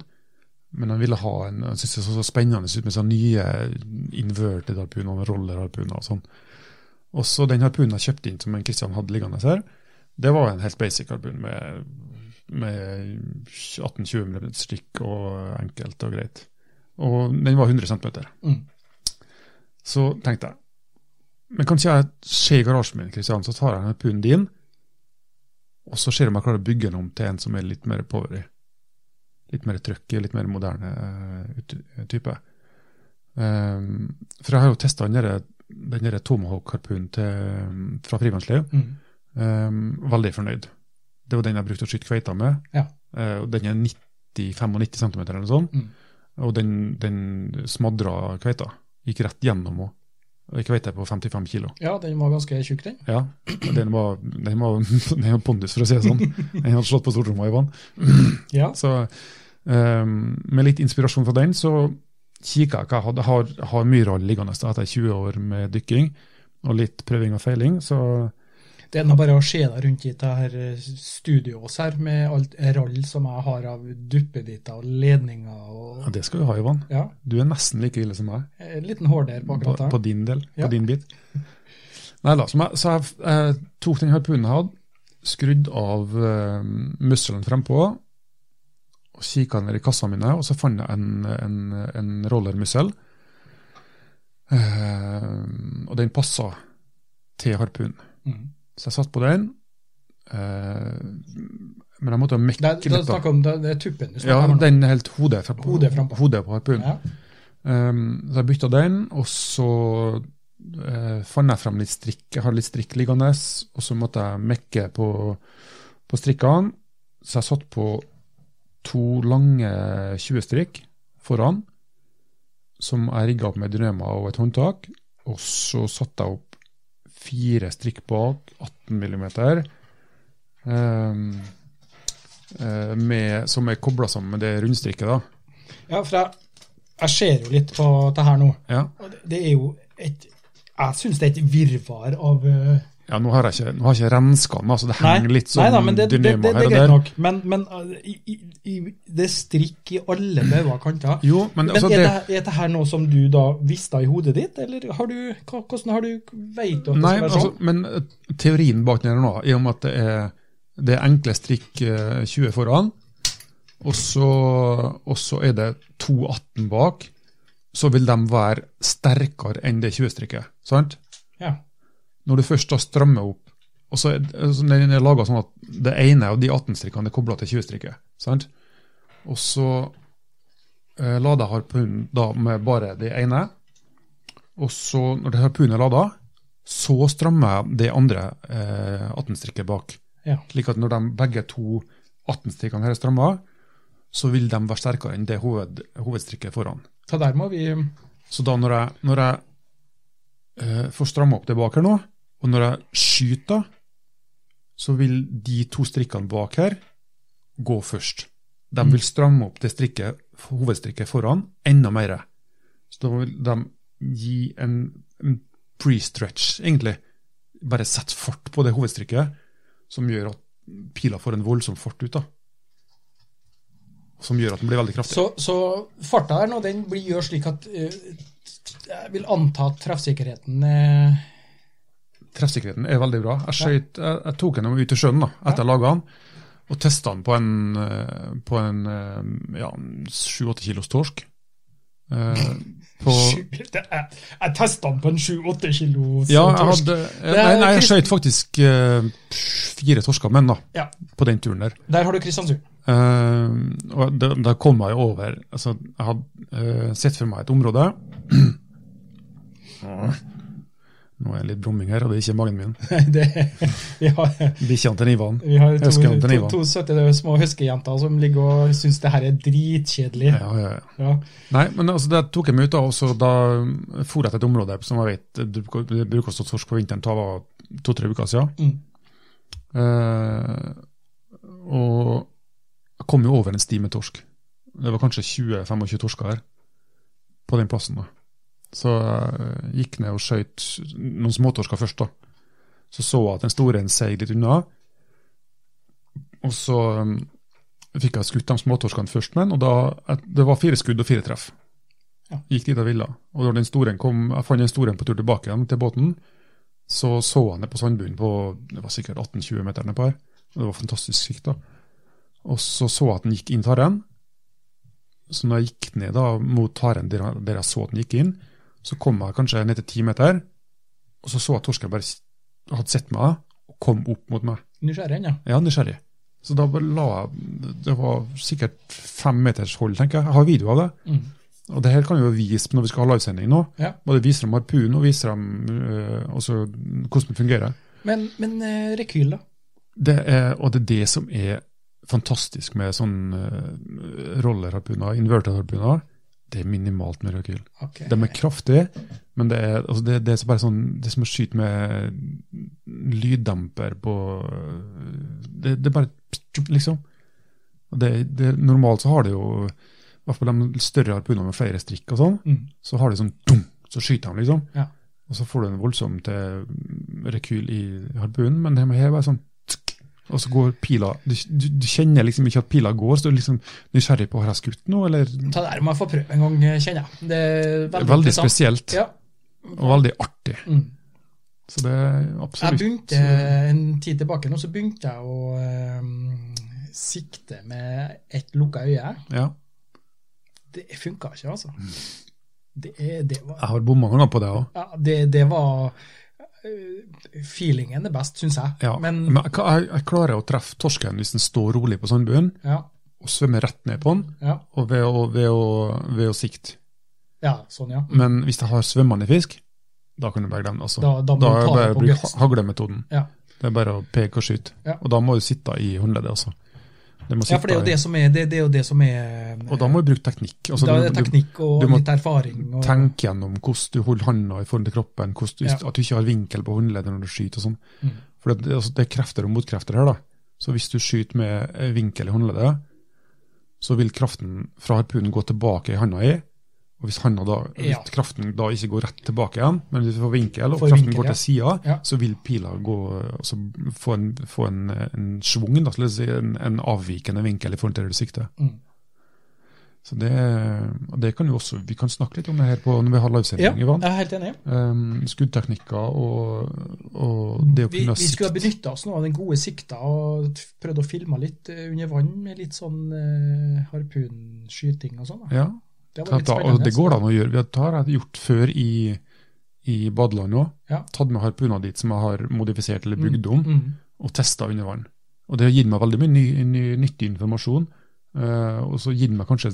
Speaker 2: Men han ville ha en, han syntes det så, så spennende ut med sånne nye inverted harpuner og rollerharpuner og sånn. Også den harpunen jeg kjøpte inn som en Kristian hadde liggende her, det var en helt basic harpun med, med 18-20 mm stykk og enkelt og greit. Og den var 100 cm.
Speaker 1: Mm.
Speaker 2: Så tenkte jeg Men kan ikke jeg se i garasjen min, Kristian, så tar jeg den harpunen din, og så ser jeg om jeg klarer å bygge den om til en som er litt mer powery. litt mer trøkk i, litt mer moderne eh, ut- type. Ehm, for jeg har jo testa den derre- den derre Tomahawk-harpunen til- eh, fra Frivannsliv.
Speaker 1: Mm.
Speaker 2: Ehm, veldig fornøyd. Det var den jeg brukte å skyte kveita med.
Speaker 1: Ja.
Speaker 2: Eh, og den er 90-95 cm eller noe sånt.
Speaker 1: Mm.
Speaker 2: Og den, den smadra kveita. Gikk rett gjennom henne. Og ei kveite på 55 kilo.
Speaker 1: ja, den var ganske tjukk, den.
Speaker 2: Ja, og den var, den var, den var pondus, for å si det sånn. Den hadde slått på stortromma i vann.
Speaker 1: Ja.
Speaker 2: Så ehm, med litt inspirasjon fra den, så kikker jeg hva jeg hadde. Har, har mye rall liggende da, etter 20 år med dykking og litt prøving og feiling. Så
Speaker 1: Det er nå bare å se deg rundt i det her eh, studioet oss her, med alt rall som jeg har av duppeditter og ledninger og
Speaker 2: ja, det skal du ha, Ivan.
Speaker 1: Ja,
Speaker 2: Du er nesten like ille som meg.
Speaker 1: en liten hårder på
Speaker 2: på,
Speaker 1: akkurat
Speaker 2: på
Speaker 1: der.
Speaker 2: din del,
Speaker 1: Ja.
Speaker 2: på din bit. Nei da, så jeg, så jeg eh, tok den harpunen jeg hadde, skrudd av uh, musselen frempå, og kikka ned i kassa mine, og så fant jeg en, en, en rollermussel. Eh, og den passa til harpunen.
Speaker 1: Mm.
Speaker 2: Så jeg satt på den. eh, men jeg måtte jo mekke
Speaker 1: Det,
Speaker 2: litt.
Speaker 1: det,
Speaker 2: da.
Speaker 1: snakker om, det, det er tuppen du
Speaker 2: Ja,
Speaker 1: snakker om. nå.
Speaker 2: den helt hodet fra-
Speaker 1: Hodet frampå.
Speaker 2: Hodet på harpunen.
Speaker 1: Ja.
Speaker 2: Um, så jeg bytta den, og så eh, fant jeg frem litt strikk. Jeg har litt strikk liggende, og så måtte jeg mekke på, på strikkene. Så jeg satt på to lange 20-strikk foran, som jeg rigga opp med dynama og et håndtak. Og så satte jeg opp fire strikk bak, 18 millimeter. Um, eh, med, som er kobla sammen med det rundstrikket, da.
Speaker 1: Ja, for jeg, jeg ser jo litt på det her nå.
Speaker 2: Ja.
Speaker 1: Og det- Det er jo et Jeg syns det er et virvar av eh,
Speaker 2: Ja, nå har jeg ikke, nå har jeg ikke renska den, altså det henger litt sånn
Speaker 1: nei da, men det, det, det, det,
Speaker 2: dynamo
Speaker 1: er
Speaker 2: her og
Speaker 1: greit
Speaker 2: der.
Speaker 1: nok. Men, men eh, i, i, i, det er strikk i alle bauger og kanter.
Speaker 2: Jo, men,
Speaker 1: Men
Speaker 2: altså,
Speaker 1: er,
Speaker 2: det,
Speaker 1: det, er det her noe som du da visste i hodet ditt, eller har du, hva- hvordan har du veit du at det
Speaker 2: nei,
Speaker 1: skal være
Speaker 2: altså,
Speaker 1: sånn?
Speaker 2: men eh, teorien bak den her nå, i og med at det er, det er enkle strikk eh, 20 foran, og så, og så er det 2,18 bak, så vil de være sterkere enn det 20-strikket. sant?
Speaker 1: Ja.
Speaker 2: Når du først da strammer opp og så er så Den er laga sånn at det ene av de 18-strikkene er kobla til 20-strikket. sant? Og så eh, lader jeg harpunen da med bare det ene. Og så, når det harpunen er lada, så strammer jeg det andre eh, 18-strikket bak.
Speaker 1: Ja.
Speaker 2: Slik at når de begge to 18-strikkene her er stramma, så vil de være sterkere enn det hoved, hovedstrikket foran.
Speaker 1: Så der må vi
Speaker 2: Så da når jeg, når jeg eh, får stramma opp det bak her nå, og når jeg skyter, så vil de to strikkene bak her gå først. De vil stramme opp det strikket, hovedstrikket foran enda mer. Så da vil de gi en, en pre-stretch, egentlig. Bare sette fart på det hovedstrikket, som gjør at pila får en voldsom fart ut. da. Som gjør at den blir veldig kraftig.
Speaker 1: Så, så farta her nå, den blir gjør slik at eh, jeg vil anta at treffsikkerheten eh,
Speaker 2: treffsikkerheten er veldig bra. Jeg, skjøt, jeg, jeg tok den jo ut i sjøen da, etter jeg laga den, og testa den på en, eh, på en eh, ja, 7-8 kilos torsk. Eh, på,
Speaker 1: sju- det er- Jeg testa den på en 7-8 kilo sånn
Speaker 2: ja, jeg
Speaker 1: torsk.
Speaker 2: hadde, eh, nei, nei, jeg skjøt faktisk eh, fire torsker menn da,
Speaker 1: Ja.
Speaker 2: på den turen der.
Speaker 1: Der har du Kristiansund.
Speaker 2: Eh, og da, da kom jeg over altså, Jeg hadde eh, sett for meg et område Nå er det litt brumming her, og det er ikke magen min.
Speaker 1: Det, vi har,
Speaker 2: Bikkjene til Ivan.
Speaker 1: vi har to,
Speaker 2: Huskejentene,
Speaker 1: to,
Speaker 2: Ivan.
Speaker 1: to søte små huskejenter som ligger og syns det her er dritkjedelig.
Speaker 2: Ja, ja, ja.
Speaker 1: Ja.
Speaker 2: Nei, men altså, det tok jeg meg ut av, og så da um, for jeg til et område som jeg vet du- det bruker å stå torsk på vinteren, det var to-tre uker siden.
Speaker 1: Mm.
Speaker 2: Eh, og jeg kom jo over en sti med torsk. Det var kanskje 20-25 torsker her på den plassen. da. Så jeg gikk ned og skjøt noen småtorsker først. da. Så så jeg at den store en seig litt unna. Og så um, fikk jeg skutt de småtorskene først, men, og da, et- det var fire skudd og fire treff.
Speaker 1: Ja.
Speaker 2: Gikk dit jeg ville. Og da den store en kom, jeg fant den store en på tur tilbake igjen til båten, så så han det på sandbunnen på det var sikkert 18-20 meter nedpå her. Og det var fantastisk sikt, da. Og så så jeg at den gikk inn taren. Så når jeg gikk ned da, mot taren der, jeg- der jeg så at den gikk inn, så kom jeg kanskje ned til ti meter, og så så jeg at torsken bare s- hadde sett meg og kom opp mot meg.
Speaker 1: Nysgjerrig ennå.
Speaker 2: Jeg er nysgjerrig. Så da bare la jeg Det var sikkert fem meters hold, tenker jeg. Jeg har video av det.
Speaker 1: Mm.
Speaker 2: Og det her kan vi jo vise når vi skal ha livesending nå.
Speaker 1: Ja.
Speaker 2: Både vise dem harpunen og vise dem øh, altså, hvordan det fungerer.
Speaker 1: Men, men eh, rekyl, da?
Speaker 2: Det er, og det er det som er fantastisk med sånn øh, rollerharpuner, inverted-harpuner. Det er minimalt med rekyl.
Speaker 1: Ok.
Speaker 2: De er kraftige, men det er, altså det, det er så bare sånn, det er som å skyte med lyddemper på eh, Det, det er bare pst, liksom. Og Det, det, normalt så har det jo i hvert fall de større harpunene med flere strikk og sånn,
Speaker 1: Mm.
Speaker 2: så har de sånn dum, så skyter de, liksom.
Speaker 1: Ja.
Speaker 2: Og så får du en voldsom til rekyl i harpunen, men det her er bare sånn tsk, og så går pila du, du, du kjenner liksom ikke at pila går, så du er liksom nysgjerrig på har jeg skutt nå, eller
Speaker 1: Ta det her må jeg få prøve en gang, eh, kjenner jeg. Det er veldig,
Speaker 2: Veldig
Speaker 1: interessant.
Speaker 2: spesielt,
Speaker 1: Ja.
Speaker 2: og veldig artig.
Speaker 1: Mm.
Speaker 2: Så det er
Speaker 1: Jeg
Speaker 2: absolutt
Speaker 1: begynte en tid tilbake nå, så begynte jeg å eh, sikte med ett lukka øye.
Speaker 2: Ja.
Speaker 1: Det funka ikke, altså.
Speaker 2: Mm.
Speaker 1: Det, er- det var
Speaker 2: Jeg har bomma noen ganger på det òg.
Speaker 1: ja, det, det var eh, Feelingen er best, syns jeg.
Speaker 2: Ja. Men,
Speaker 1: Men
Speaker 2: jeg, jeg, jeg klarer å treffe torsken hvis den står rolig på sandbunnen
Speaker 1: ja,
Speaker 2: og svømmer rett ned på den
Speaker 1: ja,
Speaker 2: og ved å, ved å, ved å sikte.
Speaker 1: ja, sånn, ja.
Speaker 2: Men hvis jeg har svømmende fisk, da kan du bare glemme det. Altså.
Speaker 1: Da, da må du
Speaker 2: Da er det
Speaker 1: ta det
Speaker 2: bare å
Speaker 1: på
Speaker 2: bruke
Speaker 1: guts.
Speaker 2: haglemetoden.
Speaker 1: Ja.
Speaker 2: Det er bare å peke og skyte.
Speaker 1: Ja.
Speaker 2: Og da må du sitte i håndleddet, altså. Det må
Speaker 1: Ja, for det er jo
Speaker 2: sitte i-
Speaker 1: det som er, det, det er, jo det som er
Speaker 2: Og da må du bruke teknikk. Altså,
Speaker 1: da er det
Speaker 2: du- du-
Speaker 1: teknikk og
Speaker 2: du må
Speaker 1: litt erfaring. Og,
Speaker 2: Tenk gjennom hvordan du holder handa i forhold til kroppen, hvordan du,
Speaker 1: Ja.
Speaker 2: at du ikke har vinkel på håndleddet når du skyter og sånn.
Speaker 1: Mm.
Speaker 2: For det, det, altså, det er krefter og motkrefter her, da. Så hvis du skyter med eh, vinkel i håndleddet, så vil kraften fra harpunen gå tilbake i handa i. Og hvis, handa da, hvis
Speaker 1: Ja.
Speaker 2: kraften da ikke går rett tilbake igjen, men hvis du får vinkel, og
Speaker 1: Får
Speaker 2: kraften
Speaker 1: vinkel,
Speaker 2: går
Speaker 1: ja.
Speaker 2: til sida,
Speaker 1: Ja.
Speaker 2: så vil pila gå, altså, få en, få en, en schwung, da, skal jeg si, en, en avvikende vinkel i forhold til det du sikter.
Speaker 1: Mm.
Speaker 2: Så det, og det kan jo også, Vi kan snakke litt om det her på, når vi har
Speaker 1: Ja,
Speaker 2: livesending. Ivan.
Speaker 1: jeg er helt enig.
Speaker 2: Um, skuddteknikker og, og det å
Speaker 1: Vi,
Speaker 2: kunne
Speaker 1: vi skulle ha
Speaker 2: sikte.
Speaker 1: benytta oss nå av den gode sikta og t- prøvd å filme litt eh, under vann med litt sånn eh, harpunskyting og sånn. da.
Speaker 2: Ja,
Speaker 1: Det
Speaker 2: ta,
Speaker 1: var litt
Speaker 2: ta, og det
Speaker 1: spennende.
Speaker 2: går det an å gjøre. Vi har, det har jeg gjort før i, i badeland òg.
Speaker 1: Ja.
Speaker 2: Tatt med harpuna dit som jeg har modifisert eller bygd om,
Speaker 1: Mm.
Speaker 2: og testa under vann. Og det har gitt meg veldig mye ny, ny, nyttig informasjon. eh, og så gitt meg kanskje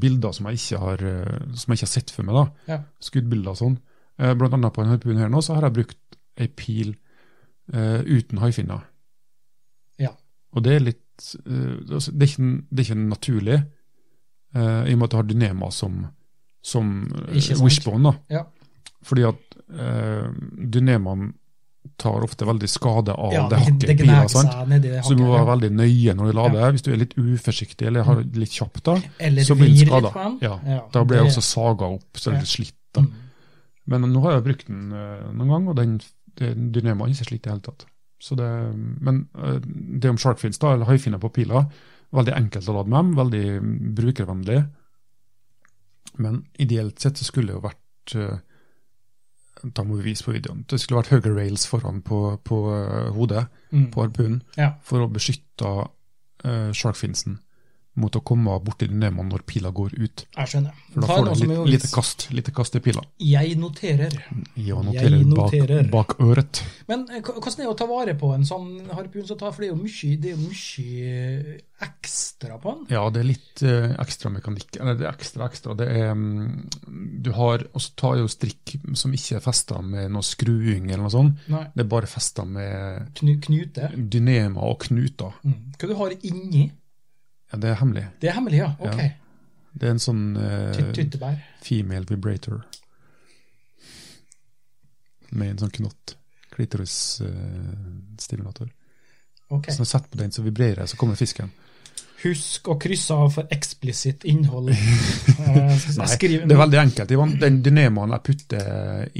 Speaker 2: bilder som jeg ikke har, eh, som jeg ikke har sett for meg. da.
Speaker 1: Ja.
Speaker 2: skuddbilder og sånn. Eh, Blant annet på en harpun her nå, så har jeg brukt ei pil eh, uten haifinner.
Speaker 1: Ja.
Speaker 2: Og det er litt eh, altså, det, er ikke, en- det er ikke en naturlig, eh, i og med at du har dynema som, som eh,
Speaker 1: Ikke sant.
Speaker 2: wishbone. da.
Speaker 1: Ja.
Speaker 2: Fordi at eh, dynemaen tar ofte veldig skade av
Speaker 1: Ja,
Speaker 2: det hakket
Speaker 1: det
Speaker 2: i pila.
Speaker 1: gnager
Speaker 2: sant?
Speaker 1: seg nedi det
Speaker 2: Så du må være
Speaker 1: hakket. Mm.
Speaker 2: veldig nøye når du lader. Hvis du er litt uforsiktig eller har litt kjapt, da,
Speaker 1: ja. Eller
Speaker 2: så blir den
Speaker 1: vrir litt
Speaker 2: skadet.
Speaker 1: på den.
Speaker 2: Ja,
Speaker 1: Ja,
Speaker 2: da blir jeg
Speaker 1: det-
Speaker 2: også saga opp, så er det litt slitt. da.
Speaker 1: Mm.
Speaker 2: Men nå har jeg brukt den eh, noen gang, og den, den dynemaen ikke slitt i det hele tatt. Så det, men eh, det om sharkfins, da, eller haifinner på pila, veldig enkelt å lade med dem, veldig brukervennlig. Men ideelt sett så skulle det jo vært eh, Da må vi vise på videoen. Det skulle vært høyere rails foran på, på eh, hodet
Speaker 1: Mm.
Speaker 2: på harpunen
Speaker 1: Ja.
Speaker 2: for å beskytte eh, sharkfinsen mot å komme borti dynemaen når pila går ut.
Speaker 1: Jeg skjønner.
Speaker 2: For da
Speaker 1: Ta
Speaker 2: får
Speaker 1: noe
Speaker 2: du
Speaker 1: som
Speaker 2: litt,
Speaker 1: er
Speaker 2: lite kast, lite kast i pila.
Speaker 1: Jeg noterer.
Speaker 2: Jeg noterer,
Speaker 1: Jeg noterer.
Speaker 2: Bak, bak øret.
Speaker 1: Men eh, hva- hvordan er det å ta vare på en sånn harpun? som tar- For det er jo mye, det er jo mye eh, ekstra på den.
Speaker 2: Ja, det er litt eh, ekstra mekanikk. Eller det er ekstra, ekstra. Det er mm, Du har Og så tar jo strikk som ikke er festa med noe skruing eller noe sånt.
Speaker 1: Nei,
Speaker 2: Det er bare festa med
Speaker 1: knu, knute.
Speaker 2: dynema og knuter.
Speaker 1: Mm. Hva du har inni?
Speaker 2: Ja, det er hemmelig.
Speaker 1: Det er hemmelig, ja. Ok.
Speaker 2: Ja. eh, Det er en sånn eh,
Speaker 1: Ty- Tyttebær.
Speaker 2: female vibrator. Med en sånn knott. Klitorisstimulator.
Speaker 1: Ok.
Speaker 2: Så når jeg setter på den, så vibrerer jeg, så kommer fisken.
Speaker 1: Husk å krysse av for eksplisitt innhold. Eh,
Speaker 2: Nei,
Speaker 1: jeg skriver-
Speaker 2: Det er veldig enkelt, Ivan. Den dynemaen jeg putter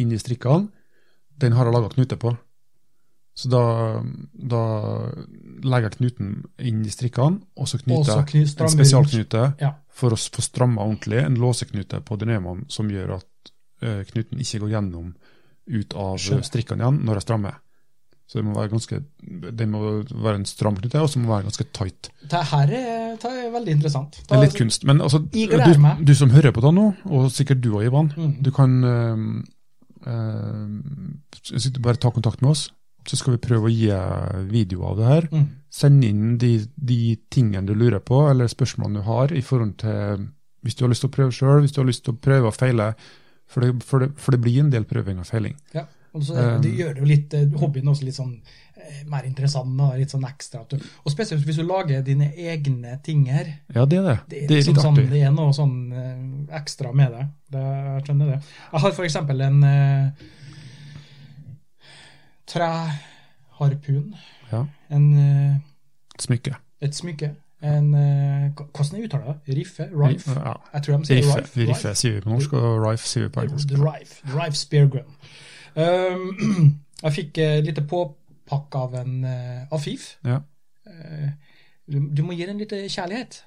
Speaker 2: inn i strikkene, den har jeg laga knute på. Så da, da legger jeg knuten inn i strikkene, og så
Speaker 1: Og så
Speaker 2: knyter jeg
Speaker 1: kny-
Speaker 2: en
Speaker 1: strammer rundt.
Speaker 2: spesialknute
Speaker 1: Ja.
Speaker 2: for å s- få stramma ordentlig, en låseknute på dynemaen som gjør at eh, knuten ikke går gjennom ut av
Speaker 1: Skjønner.
Speaker 2: strikkene igjen når jeg strammer. Så det må være ganske, det må være en stram knute, og så må det være ganske tight.
Speaker 1: Det her er, det er veldig interessant.
Speaker 2: Det er litt kunst. Men altså,
Speaker 1: Jeg gleder
Speaker 2: du,
Speaker 1: meg.
Speaker 2: du som hører på det nå, og sikkert du ehm, òg, Ivan,
Speaker 1: Mm.
Speaker 2: du kan eh, eh, sikkert bare ta kontakt med oss. så skal vi prøve å gi videoer av det her.
Speaker 1: Mm.
Speaker 2: Send inn de, de tingene du lurer på, eller spørsmålene du har, i forhold til hvis du har lyst til å prøve sjøl, hvis du har lyst til å prøve og feile. For det, for, det, for det blir en del prøving og feiling.
Speaker 1: Ja. Og så, det, det
Speaker 2: Um,
Speaker 1: gjør det jo litt, eh, hobbyen også litt sånn eh, mer interessant og litt sånn ekstra. at du- Og spesielt hvis du lager dine egne ting her.
Speaker 2: Ja, det er det.
Speaker 1: Det er,
Speaker 2: Det er
Speaker 1: liksom
Speaker 2: litt
Speaker 1: sånn,
Speaker 2: artig.
Speaker 1: det er noe sånn eh, ekstra med det. det. Jeg skjønner det. Jeg har f.eks. en uh, treharpun.
Speaker 2: Ja.
Speaker 1: En, eh,
Speaker 2: Et smykke.
Speaker 1: et smykke. En, eh, hva- hvordan jeg uttaler det? Riffe? Rife?
Speaker 2: Ja.
Speaker 1: Jeg tror de sier
Speaker 2: Riffe,
Speaker 1: rife.
Speaker 2: riffe sier vi på norsk, og rife sier vi på engelsk.
Speaker 1: Drive. Drive Spear Gun. Um, jeg fikk et lite påpakk av en eh, Afif.
Speaker 2: Ja.
Speaker 1: Eh, du, du må gi den litt eh, kjærlighet.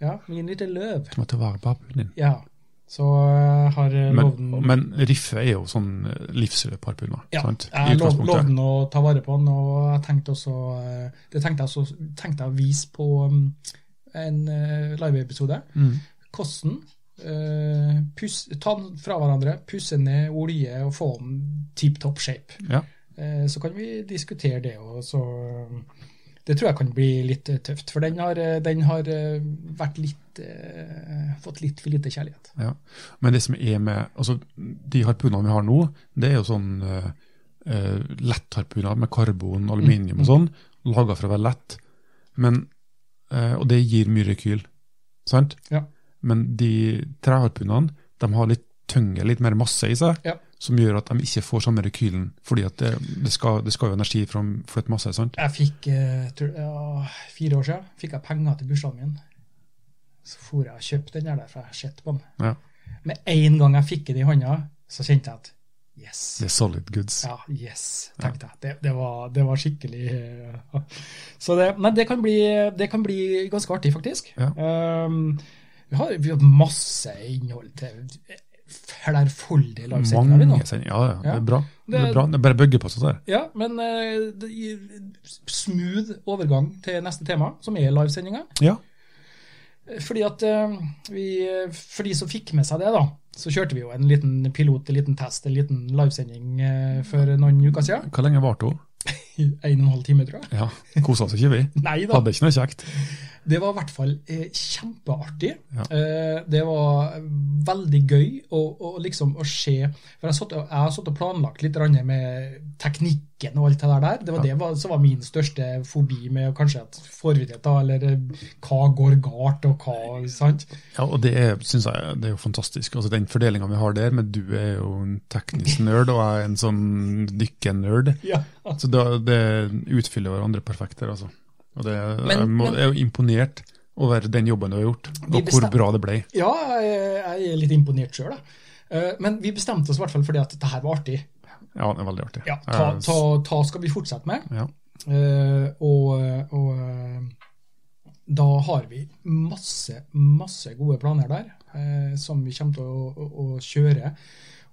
Speaker 1: Ja, må gi den litt løv.
Speaker 2: Du må ta vare på appen din.
Speaker 1: Ja. Så jeg har eh,
Speaker 2: Men,
Speaker 1: lovd den
Speaker 2: men riffe er jo sånn eh, livsløp harpuna,
Speaker 1: Ja,
Speaker 2: sant? I
Speaker 1: jeg lov, lovde
Speaker 2: utgangspunktet.
Speaker 1: den å ta vare på den, og jeg tenkte også eh, Det tenkte jeg, så, tenkte jeg å vise på um, en eh, live-episode.
Speaker 2: Mm.
Speaker 1: Hvordan eh, puss- ta den fra hverandre, pusse ned olje og få den tip top shape.
Speaker 2: Ja.
Speaker 1: Eh, så kan vi diskutere det. Og så, eh, det tror jeg kan bli litt eh, tøft, for den har, eh, den har eh, vært litt eh, fått litt for lite kjærlighet.
Speaker 2: Ja. Men det som er med altså, De harpunene vi har nå, det er jo sånn uh, lettharpuner med karbon, aluminium
Speaker 1: Mm,
Speaker 2: og sånn, laga for å være lett. Men, eh, og det gir mye rekyl, sant?
Speaker 1: Ja.
Speaker 2: Men de treharpunene de har litt tyngre, litt mer masse i seg,
Speaker 1: Ja.
Speaker 2: som gjør at de ikke får samme rekylen. fordi at det, det, skal, det skal jo energi fra flytte masse, sant?
Speaker 1: Jeg fikk, eh, tror, ja, fire år siden, fikk jeg penger til bursdagen min. Så for jeg og kjøpte den der, der, for jeg har sett på den.
Speaker 2: Ja.
Speaker 1: Med en gang jeg fikk den i hånda, så kjente jeg at yes.
Speaker 2: Det er solid goods.
Speaker 1: Ja, yes, tenkte jeg. Det, det, var, det var skikkelig eh, Så det, men det kan, bli, det kan bli ganske artig, faktisk.
Speaker 2: Ja.
Speaker 1: Um, vi, har, vi har masse innhold til eh, flerfoldige livesendringer vi nå.
Speaker 2: Mange sender, ja, ja, det
Speaker 1: Ja.
Speaker 2: er bra. Det
Speaker 1: Det-
Speaker 2: er bra. Det er bare bøgge på seg der.
Speaker 1: Ja, men eh, det gir smooth overgang til neste tema, som er livesendinga.
Speaker 2: Ja.
Speaker 1: Fordi at eh, vi, eh, For de som fikk med seg det, da, så kjørte vi jo en liten pilot, en liten test, en liten livesending eh, for noen uker siden.
Speaker 2: Hvor lenge varte hun?
Speaker 1: En og en halv time, tror jeg.
Speaker 2: Ja, Kosa oss ikke vi.
Speaker 1: Nei da.
Speaker 2: Hadde ikke noe kjekt.
Speaker 1: Det var i hvert fall eh, kjempeartig.
Speaker 2: Ja.
Speaker 1: Eh, det var veldig gøy å, å, liksom å se For jeg, satt, og- jeg har satt og planlagt litt grann med teknikken og alt det der der. Det var det var, som var min største fobi med kanskje at får vi det da, eller eh, hva går galt, og hva sant?
Speaker 2: Ja, og det er, synes jeg, det er jo fantastisk. Altså Den fordelinga vi har der, men du er jo en teknisk nerd, og jeg er en sånn dykke-nerd.
Speaker 1: Ja.
Speaker 2: Så det, det utfyller hverandre perfekt der, altså. Og det, jeg,
Speaker 1: Men-
Speaker 2: må,
Speaker 1: men-
Speaker 2: jeg er jo imponert over den jobben du har gjort,
Speaker 1: Vi
Speaker 2: og hvor
Speaker 1: bestem-
Speaker 2: bra det ble.
Speaker 1: Ja, jeg, jeg er litt imponert sjøl, da. Eh, Men vi bestemte oss i hvert fall fordi at dette her var artig.
Speaker 2: Ja, det er veldig artig.
Speaker 1: Ja, ta,
Speaker 2: Jeg-
Speaker 1: ta, ta skal vi fortsette med.
Speaker 2: ja.
Speaker 1: Eh, og og eh, da har vi masse, masse gode planer der, eh, som vi kommer til å, å, å kjøre.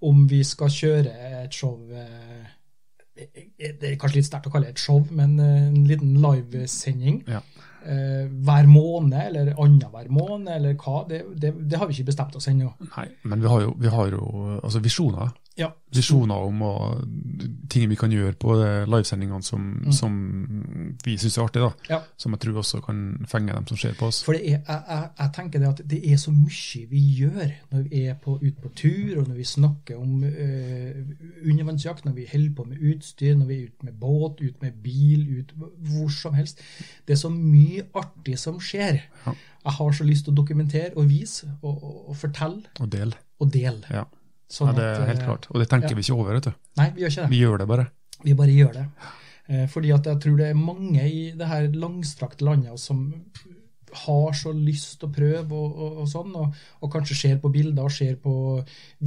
Speaker 1: Om vi skal kjøre et show eh, Det er kanskje litt sterkt å kalle det et show, men eh, en liten livesending.
Speaker 2: Ja.
Speaker 1: eh, hver måned, eller annenhver måned, eller hva. Det, det, det har vi ikke bestemt oss ennå.
Speaker 2: Nei, men vi har jo, vi har jo altså visjoner.
Speaker 1: Ja.
Speaker 2: Visjoner om og, ting vi kan gjøre på de livesendingene som, som vi syns er artig, da.
Speaker 1: Mm. ja.
Speaker 2: Som jeg tror også kan fenge dem som ser på oss.
Speaker 1: For det er, jeg, jeg, jeg tenker det at det er så mye vi gjør når vi er på, ute på tur, og når vi snakker om eh, undervannsjakt, når vi holder på med utstyr, når vi er ute med båt, ute med bil, ut hvor som helst. Det er så mye artig som skjer.
Speaker 2: Ja.
Speaker 1: Jeg har så lyst til å dokumentere og vise og, og, og fortelle
Speaker 2: Og del.
Speaker 1: og dele.
Speaker 2: Ja.
Speaker 1: Sånn
Speaker 2: ja, det
Speaker 1: at,
Speaker 2: er
Speaker 1: eh,
Speaker 2: helt klart. Og det tenker
Speaker 1: ja.
Speaker 2: vi ikke over, vet du.
Speaker 1: Nei, vi gjør ikke det.
Speaker 2: Vi gjør det bare.
Speaker 1: Vi bare gjør det. Eh, Fordi at jeg tror det er mange i det her langstrakte landet som har så lyst til å prøve og, og, og sånn, og, og kanskje ser på bilder og ser på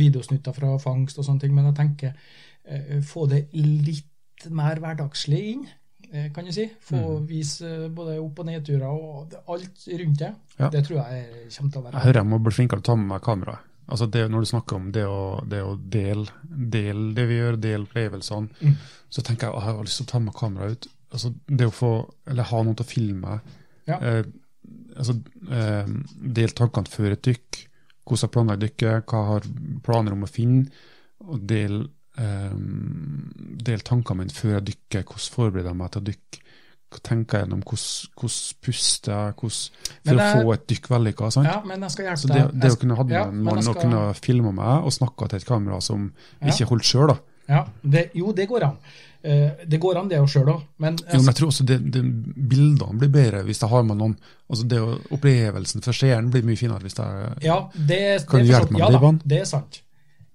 Speaker 1: videosnutter fra fangst og sånne ting, men jeg tenker eh, få det litt mer hverdagslig inn, eh, kan du si. Få
Speaker 2: Mm.
Speaker 1: vise eh, både opp- og nedturer og det- alt rundt det.
Speaker 2: Ja.
Speaker 1: Det tror jeg kommer til å
Speaker 2: Jeg
Speaker 1: være
Speaker 2: hører jeg må bli flinkere til å ta med meg kamera. Altså det, Når du snakker om det å, det å dele del det vi gjør, dele opplevelsene,
Speaker 1: Mm.
Speaker 2: så tenker jeg at jeg har lyst til å ta med meg kamera ut. Altså Det å få, eller ha noen til å filme,
Speaker 1: Ja.
Speaker 2: eh, altså eh, dele tankene før et dykk, hvordan jeg planlegger dykket, hva jeg har planer om å finne, og del um, dele tankene mine før jeg dykker. Hvordan forbereder jeg meg til å dykke? Hva tenker jeg gjennom? Hvordan, hvordan puster jeg? Hvordan,
Speaker 1: Men
Speaker 2: for
Speaker 1: det er-
Speaker 2: å få et dykk vellykka. sant?
Speaker 1: Ja, men jeg skal hjelpe
Speaker 2: Så det,
Speaker 1: deg.
Speaker 2: det
Speaker 1: Jeg
Speaker 2: å kunne hatt med
Speaker 1: ja,
Speaker 2: en
Speaker 1: men
Speaker 2: mann
Speaker 1: jeg
Speaker 2: og
Speaker 1: skal-
Speaker 2: kunne filma meg og snakka til et kamera som
Speaker 1: Ja.
Speaker 2: ikke holdt sjøl, da.
Speaker 1: sk- ja, det, jo, det går an. Eh, det går an, det jo sjøl òg. Men
Speaker 2: Jo, men
Speaker 1: altså,
Speaker 2: jeg tror også det, det, bildene blir bedre hvis jeg har med noen. Altså det å, Opplevelsen for seeren blir mye finere hvis jeg
Speaker 1: ja, det,
Speaker 2: Kan
Speaker 1: det
Speaker 2: du
Speaker 1: er for
Speaker 2: hjelpe
Speaker 1: så-
Speaker 2: meg
Speaker 1: ja,
Speaker 2: med det,
Speaker 1: da,
Speaker 2: Ivan?
Speaker 1: Det er sant.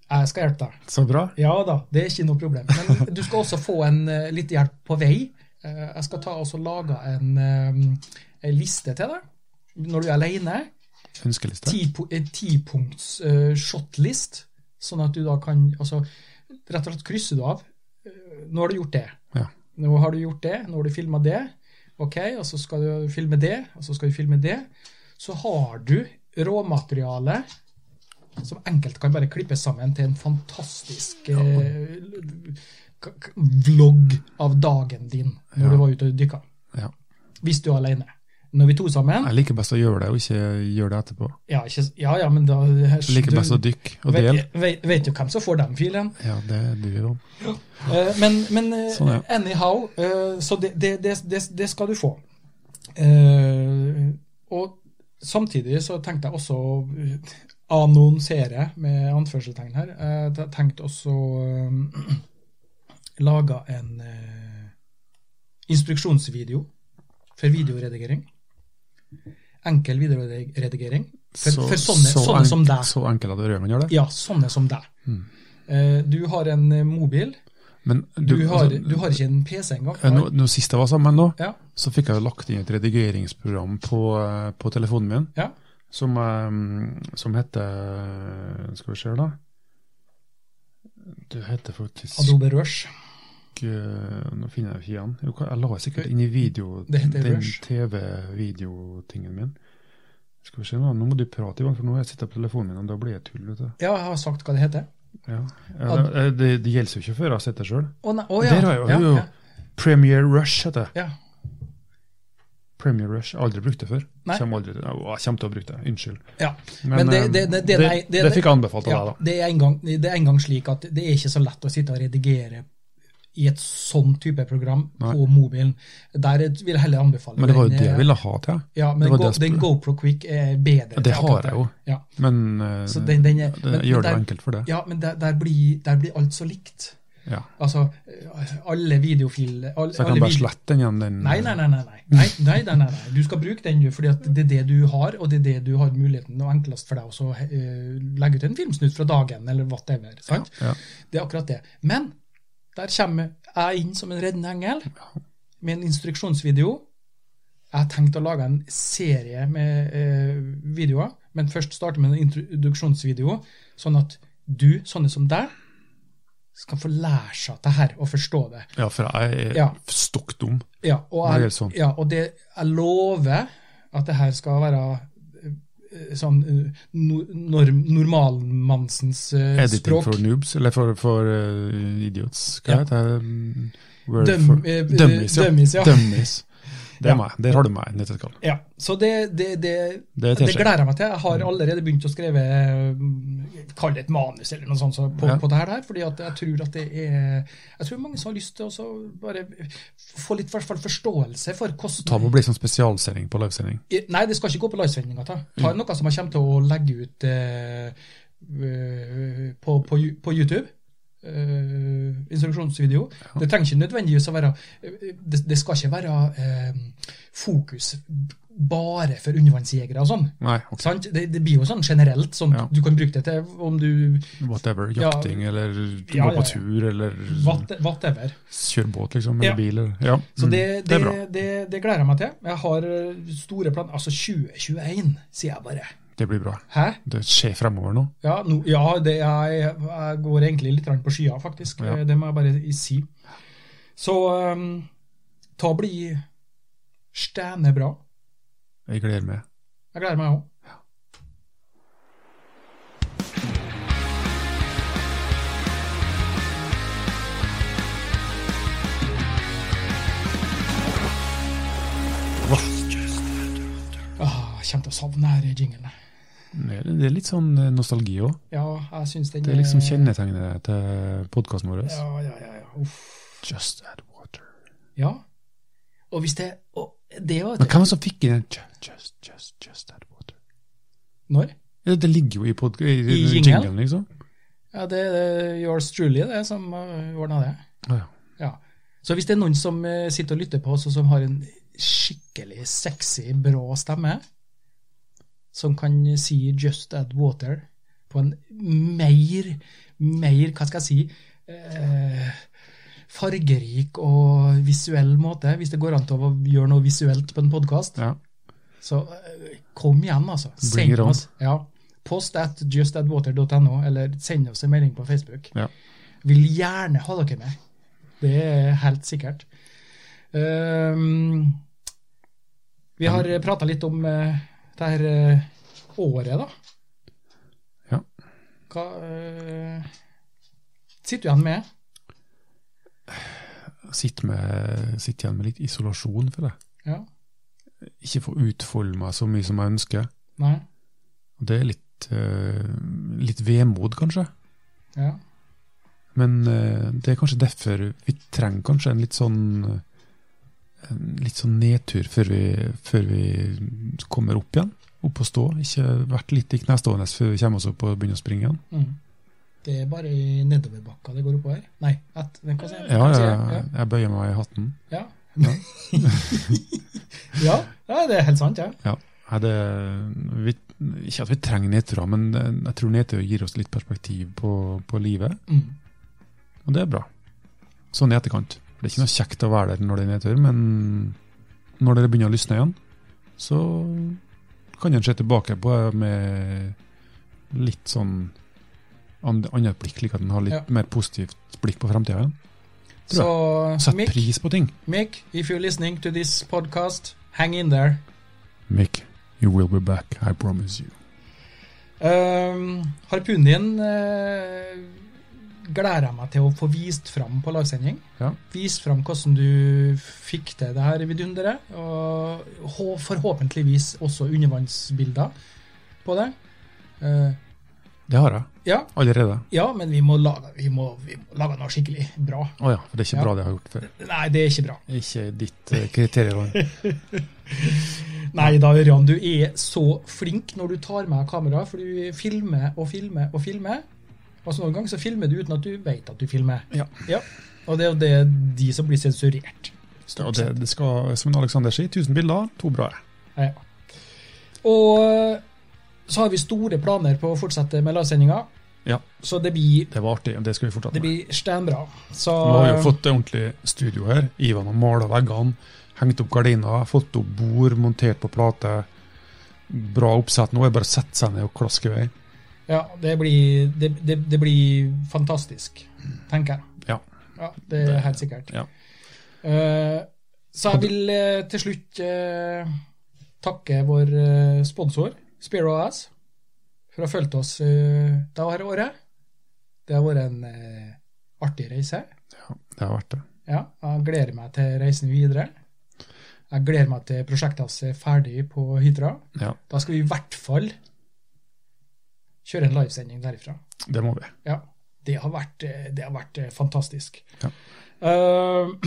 Speaker 1: Jeg skal hjelpe deg.
Speaker 2: Så bra.
Speaker 1: Ja da, det er ikke noe problem. Men du skal også få en, eh, litt hjelp på vei. Eh, Jeg skal ta og så lage en, eh, en liste til deg når du er alene.
Speaker 2: Ønskeliste.
Speaker 1: Ti, po- en tipunkts eh, shotlist, sånn at du da kan altså, Rett og slett krysser du av. Eh, Nå har du gjort det.
Speaker 2: Ja.
Speaker 1: Nå har du gjort det, nå har du filma det. Ok, og så skal du filme det, og så skal du filme det. Så har du råmateriale som enkelt kan bare klippes sammen til en fantastisk eh, k- k- vlogg av dagen din når
Speaker 2: Ja.
Speaker 1: du var ute og dykka.
Speaker 2: Ja.
Speaker 1: Hvis du er alene. Når vi to sammen
Speaker 2: Jeg liker best å gjøre det, og ikke gjøre det etterpå.
Speaker 1: Ja, ikke, s- ja, ja men da
Speaker 2: Jeg liker best å dykke og
Speaker 1: vet,
Speaker 2: dele.
Speaker 1: vet, vet du hvem som får den filen?
Speaker 2: Ja, det du gjør òg.
Speaker 1: Eh, men men eh,
Speaker 2: Sånn, ja.
Speaker 1: anyhow, eh, så det, det, det, det, det skal du få. Eh, og samtidig så tenkte jeg også å annonsere, med anførselstegn her. Eh, Jeg tenkte også uh, lage en eh, instruksjonsvideo for videoredigering. Enkel videoredigering. For, for sånne, sånne som deg.
Speaker 2: Så enkel at Rømen gjør det.
Speaker 1: Ja, sånne som deg.
Speaker 2: Hmm.
Speaker 1: Eh, Du har en eh, mobil.
Speaker 2: Men
Speaker 1: Du, har,
Speaker 2: altså,
Speaker 1: du har ikke en PC engang?
Speaker 2: eh, nå, nå Sist jeg var sammen nå,
Speaker 1: Ja,
Speaker 2: så fikk jeg jo lagt inn et redigeringsprogram på, eh, på telefonen min.
Speaker 1: ja.
Speaker 2: Som, eh, som heter Skal vi se, her da. Det heter faktisk
Speaker 1: Adobe Rush.
Speaker 2: eh, Nå finner jeg ikke igjen. Jo, hva- Jeg la det sikkert inn i video,
Speaker 1: Det heter
Speaker 2: den
Speaker 1: Rush.
Speaker 2: TV-videotingen min. Skal vi se Nå nå må du prate, Ivan, for nå har jeg sittet på telefonen min, og da blir jeg tull. vet du.
Speaker 1: Ja, jeg har sagt hva det heter.
Speaker 2: Ja. Ja, det, eh, det, det gjelder jo ikke før jeg har sett det sjøl.
Speaker 1: Å nei, å ja.
Speaker 2: Der har jeg jo,
Speaker 1: ja,
Speaker 2: jo
Speaker 1: ja,
Speaker 2: Premier Rush heter det.
Speaker 1: ja.
Speaker 2: Premier Rush. Aldri brukt det før.
Speaker 1: Nei.
Speaker 2: Kommer aldri til, Å, jeg kommer til å bruke det. Unnskyld.
Speaker 1: ja. Men det-
Speaker 2: eh,
Speaker 1: det- det- det- nei, det-
Speaker 2: det fikk jeg anbefalt av
Speaker 1: ja
Speaker 2: deg, da.
Speaker 1: det, er en gang, det er en gang slik at det er ikke så lett å sitte og redigere i et sånn type program på mobilen. Der vil jeg heller anbefale
Speaker 2: Men det var jo
Speaker 1: den,
Speaker 2: det
Speaker 1: eh,
Speaker 2: jeg ville ha til.
Speaker 1: Ja, men
Speaker 2: det var
Speaker 1: Go,
Speaker 2: det jeg
Speaker 1: den
Speaker 2: spurte.
Speaker 1: GoPro Quick er bedre.
Speaker 2: Det
Speaker 1: til
Speaker 2: har
Speaker 1: akkurat
Speaker 2: jeg jo.
Speaker 1: Ja,
Speaker 2: Men eh,
Speaker 1: så den, den er,
Speaker 2: det
Speaker 1: men- men
Speaker 2: gjør det
Speaker 1: der-
Speaker 2: jo enkelt for det.
Speaker 1: Ja, men der, der, blir, der blir alt så likt.
Speaker 2: Ja.
Speaker 1: Altså, eh, alle videofiler alle,
Speaker 2: Så jeg
Speaker 1: alle
Speaker 2: kan bare
Speaker 1: video-
Speaker 2: slette den igjen, den
Speaker 1: Nei, nei, nei. nei, nei. nei, nei, nei, nei, nei. Du skal bruke den, du, fordi at det er det du har, og det er det du har muligheten og enklest for deg også å eh, legge ut en filmsnutt fra dagen, eller whatever. Sant?
Speaker 2: Ja.
Speaker 1: Det er akkurat det. Men der kommer jeg inn som en reddende engel med en instruksjonsvideo. Jeg har tenkt å lage en serie med eh, videoer, men først starte med en introduksjonsvideo, sånn at du, sånne som deg, skal få lære seg dette her og forstå det.
Speaker 2: Ja, for jeg er
Speaker 1: Ja.
Speaker 2: stokk dum.
Speaker 1: Ja, og,
Speaker 2: Det
Speaker 1: jeg,
Speaker 2: er sånn.
Speaker 1: ja, og det, jeg lover at det her skal være eh, sånn eh, no, norm, normalmannsens eh,
Speaker 2: Editing
Speaker 1: språk.
Speaker 2: for noobs, eller for, for eh, idiots. Hva
Speaker 1: Ja.
Speaker 2: heter det? Mm, word
Speaker 1: Døm-
Speaker 2: for-
Speaker 1: eh, eh,
Speaker 2: Dummies, ja.
Speaker 1: dummies, ja.
Speaker 2: Dummies. Det
Speaker 1: Ja.
Speaker 2: er meg. Der har du meg. i et nøtteskall.
Speaker 1: Ja, så det, det, det,
Speaker 2: Det er
Speaker 1: det
Speaker 2: teskje.
Speaker 1: gleder jeg meg til. Jeg har allerede begynt å skrive eh, Kall det et manus eller noe sånt så på,
Speaker 2: Ja.
Speaker 1: på det her. der, fordi at jeg tror at det er Jeg tror mange som har lyst til å så bare få litt i hvert fall forståelse for
Speaker 2: Ta
Speaker 1: hvordan
Speaker 2: med å bli sånn spesialsending på livesending.
Speaker 1: I- Nei, det skal ikke gå på livesendinga. Ta,
Speaker 2: Mm.
Speaker 1: ta noe som jeg kommer til å legge ut eh, eh, på, på, Ju- på YouTube. Eh, instruksjonsvideo. Det trenger ikke nødvendigvis å være eh, Det, det skal ikke være eh, fokus b- bare for undervannsjegere og sånn.
Speaker 2: Nei, ok.
Speaker 1: Sant? Det, det blir jo sånn generelt. Sånn,
Speaker 2: Ja.
Speaker 1: Du kan bruke det til om du
Speaker 2: Whatever.
Speaker 1: Ja.
Speaker 2: Jakting, eller
Speaker 1: Ja,
Speaker 2: gå
Speaker 1: ja, ja.
Speaker 2: på tur, eller
Speaker 1: what- Whatever.
Speaker 2: kjøre båt, liksom.
Speaker 1: Ja.
Speaker 2: Eller bil. Eller. Ja.
Speaker 1: Så
Speaker 2: mm,
Speaker 1: det,
Speaker 2: det
Speaker 1: det,
Speaker 2: er bra.
Speaker 1: det, det, gleder jeg meg til. Jeg har eh, store planer. Altså 2021, sier jeg bare.
Speaker 2: Det blir bra.
Speaker 1: Hæ?
Speaker 2: Det skjer fremover nå.
Speaker 1: Ja, no, ja det, jeg, jeg går egentlig litt grann på skya, faktisk. Eh,
Speaker 2: Ja.
Speaker 1: Det må jeg bare i- si. Så um, ta og bli stæne bra.
Speaker 2: Jeg gleder meg.
Speaker 1: Jeg gleder meg òg. Ah, jeg kommer til å savne denne jinglen. jeg.
Speaker 2: Mer- Det er litt sånn eh, nostalgi òg.
Speaker 1: Ja, jeg syns den
Speaker 2: Det er liksom kjennetegnet til podkasten vår.
Speaker 1: Ja, ja, ja. ja. Uff.
Speaker 2: Just add water.
Speaker 1: Ja. Og hvis det og Det er jo
Speaker 2: Men hvem var det som fikk inn den ju- just, just, just add water?
Speaker 1: Når?
Speaker 2: Ja, Det ligger jo i, pod i, i
Speaker 1: jinglen?
Speaker 2: jinglen, liksom.
Speaker 1: Ja, det er yours truly det som eh, ordna det.
Speaker 2: Å, ja.
Speaker 1: Ja. Så hvis det er noen som eh, sitter og lytter på oss, og som har en skikkelig sexy, brå stemme, som kan si 'just add water' på en mer, mer, hva skal jeg si eh, Fargerik og visuell måte, hvis det går an til å gjøre noe visuelt på en podkast.
Speaker 2: ja.
Speaker 1: Så eh, kom igjen, altså.
Speaker 2: Bring it
Speaker 1: Send
Speaker 2: on.
Speaker 1: oss. Ja. Post at justadwater.no, eller send oss en melding på Facebook.
Speaker 2: Ja.
Speaker 1: Vil gjerne ha dere med. Det er helt sikkert. Ehm, vi har prata litt om eh, det her eh, året, da.
Speaker 2: Ja.
Speaker 1: Hva eh, sitter du igjen med?
Speaker 2: Sitt, med, sitt igjen med litt isolasjon, føler jeg.
Speaker 1: Ja?
Speaker 2: Ikke få utfolde meg så mye som jeg ønsker.
Speaker 1: Nei?
Speaker 2: Og Det er litt, eh, litt vemod, kanskje.
Speaker 1: Ja?
Speaker 2: Men eh, det er kanskje derfor vi trenger kanskje en litt sånn eh, en litt sånn nedtur før vi, før vi kommer opp igjen. Opp og stå. Ikke vært litt i knestående før vi kommer oss opp og begynner å springe igjen.
Speaker 1: Mm. Det er bare i nedoverbakka det går oppover? Nei, at, hva sier jeg?
Speaker 2: Ja,
Speaker 1: Hva sier
Speaker 2: jeg,
Speaker 1: jeg? Ja.
Speaker 2: jeg bøyer meg i hatten.
Speaker 1: Ja.
Speaker 2: Ja.
Speaker 1: ja, ja, det er helt sant, ja.
Speaker 2: Nei, det, vi, ikke at vi trenger nedturer, men eh, jeg tror nedturer gir oss litt perspektiv på, på livet,
Speaker 1: Mm.
Speaker 2: og det er bra. Sånn i etterkant. Det er ikke noe kjekt å være der når det er nedtur, men når dere begynner å lysne igjen, så kan en se tilbake på det med litt sånn an- annet blikk, slik at en har litt
Speaker 1: Ja.
Speaker 2: mer positivt blikk på fremtida igjen.
Speaker 1: Så
Speaker 2: Sett
Speaker 1: Altså, Mick,
Speaker 2: pris på ting.
Speaker 1: Mick, if you're listening to this podcast, hang in there.
Speaker 2: Mick, you will be back, I promise you.
Speaker 1: Um, harpunen din eh, gleder jeg meg til å få vist fram på lagsending.
Speaker 2: Ja.
Speaker 1: Vist fram hvordan du fikk til det her vidunderet. Og hå- forhåpentligvis også undervannsbilder på det. Eh,
Speaker 2: Det har jeg.
Speaker 1: ja,
Speaker 2: Allerede.
Speaker 1: ja, men vi må, lage, vi, må, vi må lage noe skikkelig bra.
Speaker 2: Å ja, for det er ikke
Speaker 1: Ja.
Speaker 2: bra det jeg har gjort før.
Speaker 1: Nei, det er ikke bra.
Speaker 2: Ikke ditt eh, kriterium.
Speaker 1: Nei da, Ørjan, du er så flink når du tar med kamera, for du filmer og filmer og filmer. Altså Noen ganger så filmer du uten at du vet at du filmer.
Speaker 2: Ja.
Speaker 1: Og det er jo det de som blir sensurert.
Speaker 2: Og det, det skal, som Alexander sier, 1000 bilder, to bra.
Speaker 1: Ja. Og så har vi store planer på å fortsette med lavsendinga,
Speaker 2: Ja,
Speaker 1: så det blir,
Speaker 2: det var artig. og Det skal vi fortsette
Speaker 1: det
Speaker 2: med.
Speaker 1: blir steinbra. Så
Speaker 2: Nå har vi jo fått det ordentlig studio her. Ivan har mala veggene, hengt opp gardiner, fått opp bord, montert på plate. Bra oppsett. Nå er det bare å sette seg ned og klaske i vei.
Speaker 1: ja, det blir, det, det, det blir fantastisk, tenker jeg.
Speaker 2: Ja.
Speaker 1: Ja, det er helt sikkert.
Speaker 2: Ja.
Speaker 1: Eh, så jeg vil eh, til slutt eh, takke vår eh, sponsor, Spiro AS, for å ha fulgt oss eh, det her året. Det har vært en eh, artig reise.
Speaker 2: ja det har vært det.
Speaker 1: Ja, jeg gleder meg til reisen videre. Jeg gleder meg til prosjektet hans er ferdig på Hitra.
Speaker 2: Ja,
Speaker 1: Da skal vi i hvert fall kjøre en livesending derifra.
Speaker 2: det må vi.
Speaker 1: Ja, det har vært, eh, det har vært fantastisk.
Speaker 2: Ja.
Speaker 1: Eh,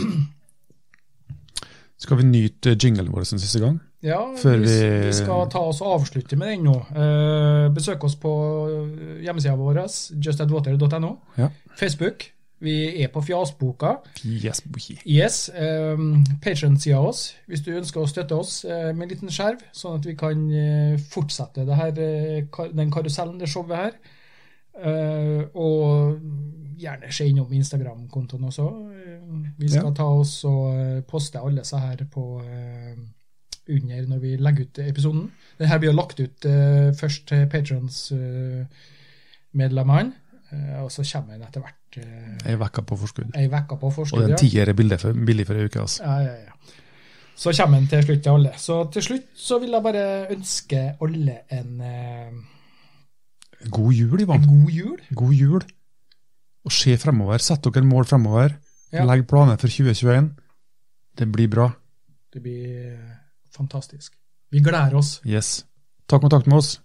Speaker 2: Skal vi nyte jinglen vår som siste gang?
Speaker 1: ja,
Speaker 2: Før
Speaker 1: vi,
Speaker 2: vi-
Speaker 1: vi skal ta oss og avslutte med den nå. Eh, besøk oss på hjemmesida vår, justadwater.no.
Speaker 2: Ja.
Speaker 1: Facebook. Vi er på Fjasboka.
Speaker 2: Yes, boy.
Speaker 1: Yes. Eh, Patron-sida oss, hvis du ønsker å støtte oss eh, med en liten skjerv, sånn at vi kan eh, fortsette det her, eh, kar den karusellen, det showet her. Eh, og gjerne se innom Instagram-kontoen også. Eh, vi skal ta oss og eh, poste alle disse her på eh, under når vi legger ut episoden. Den her blir jo lagt ut eh, først til Patrons-medlemmene, Eh, og så kommer den etter hvert eh,
Speaker 2: Jeg er vekka på forskudd.
Speaker 1: ei uke på
Speaker 2: Og
Speaker 1: forskudd.
Speaker 2: den
Speaker 1: ja.
Speaker 2: tier er billig for, billig for ei uke, altså.
Speaker 1: Ja, ja, ja. Så kommer den til slutt til alle. Så til slutt så vil jeg bare ønske alle en, eh,
Speaker 2: God jul, Ivan.
Speaker 1: en god jul.
Speaker 2: God jul. Og se fremover. Sett dere mål fremover.
Speaker 1: Ja.
Speaker 2: Legg planer for 2021. Det blir bra.
Speaker 1: Det blir eh, fantastisk. Vi gleder oss.
Speaker 2: Yes. Ta kontakt med oss.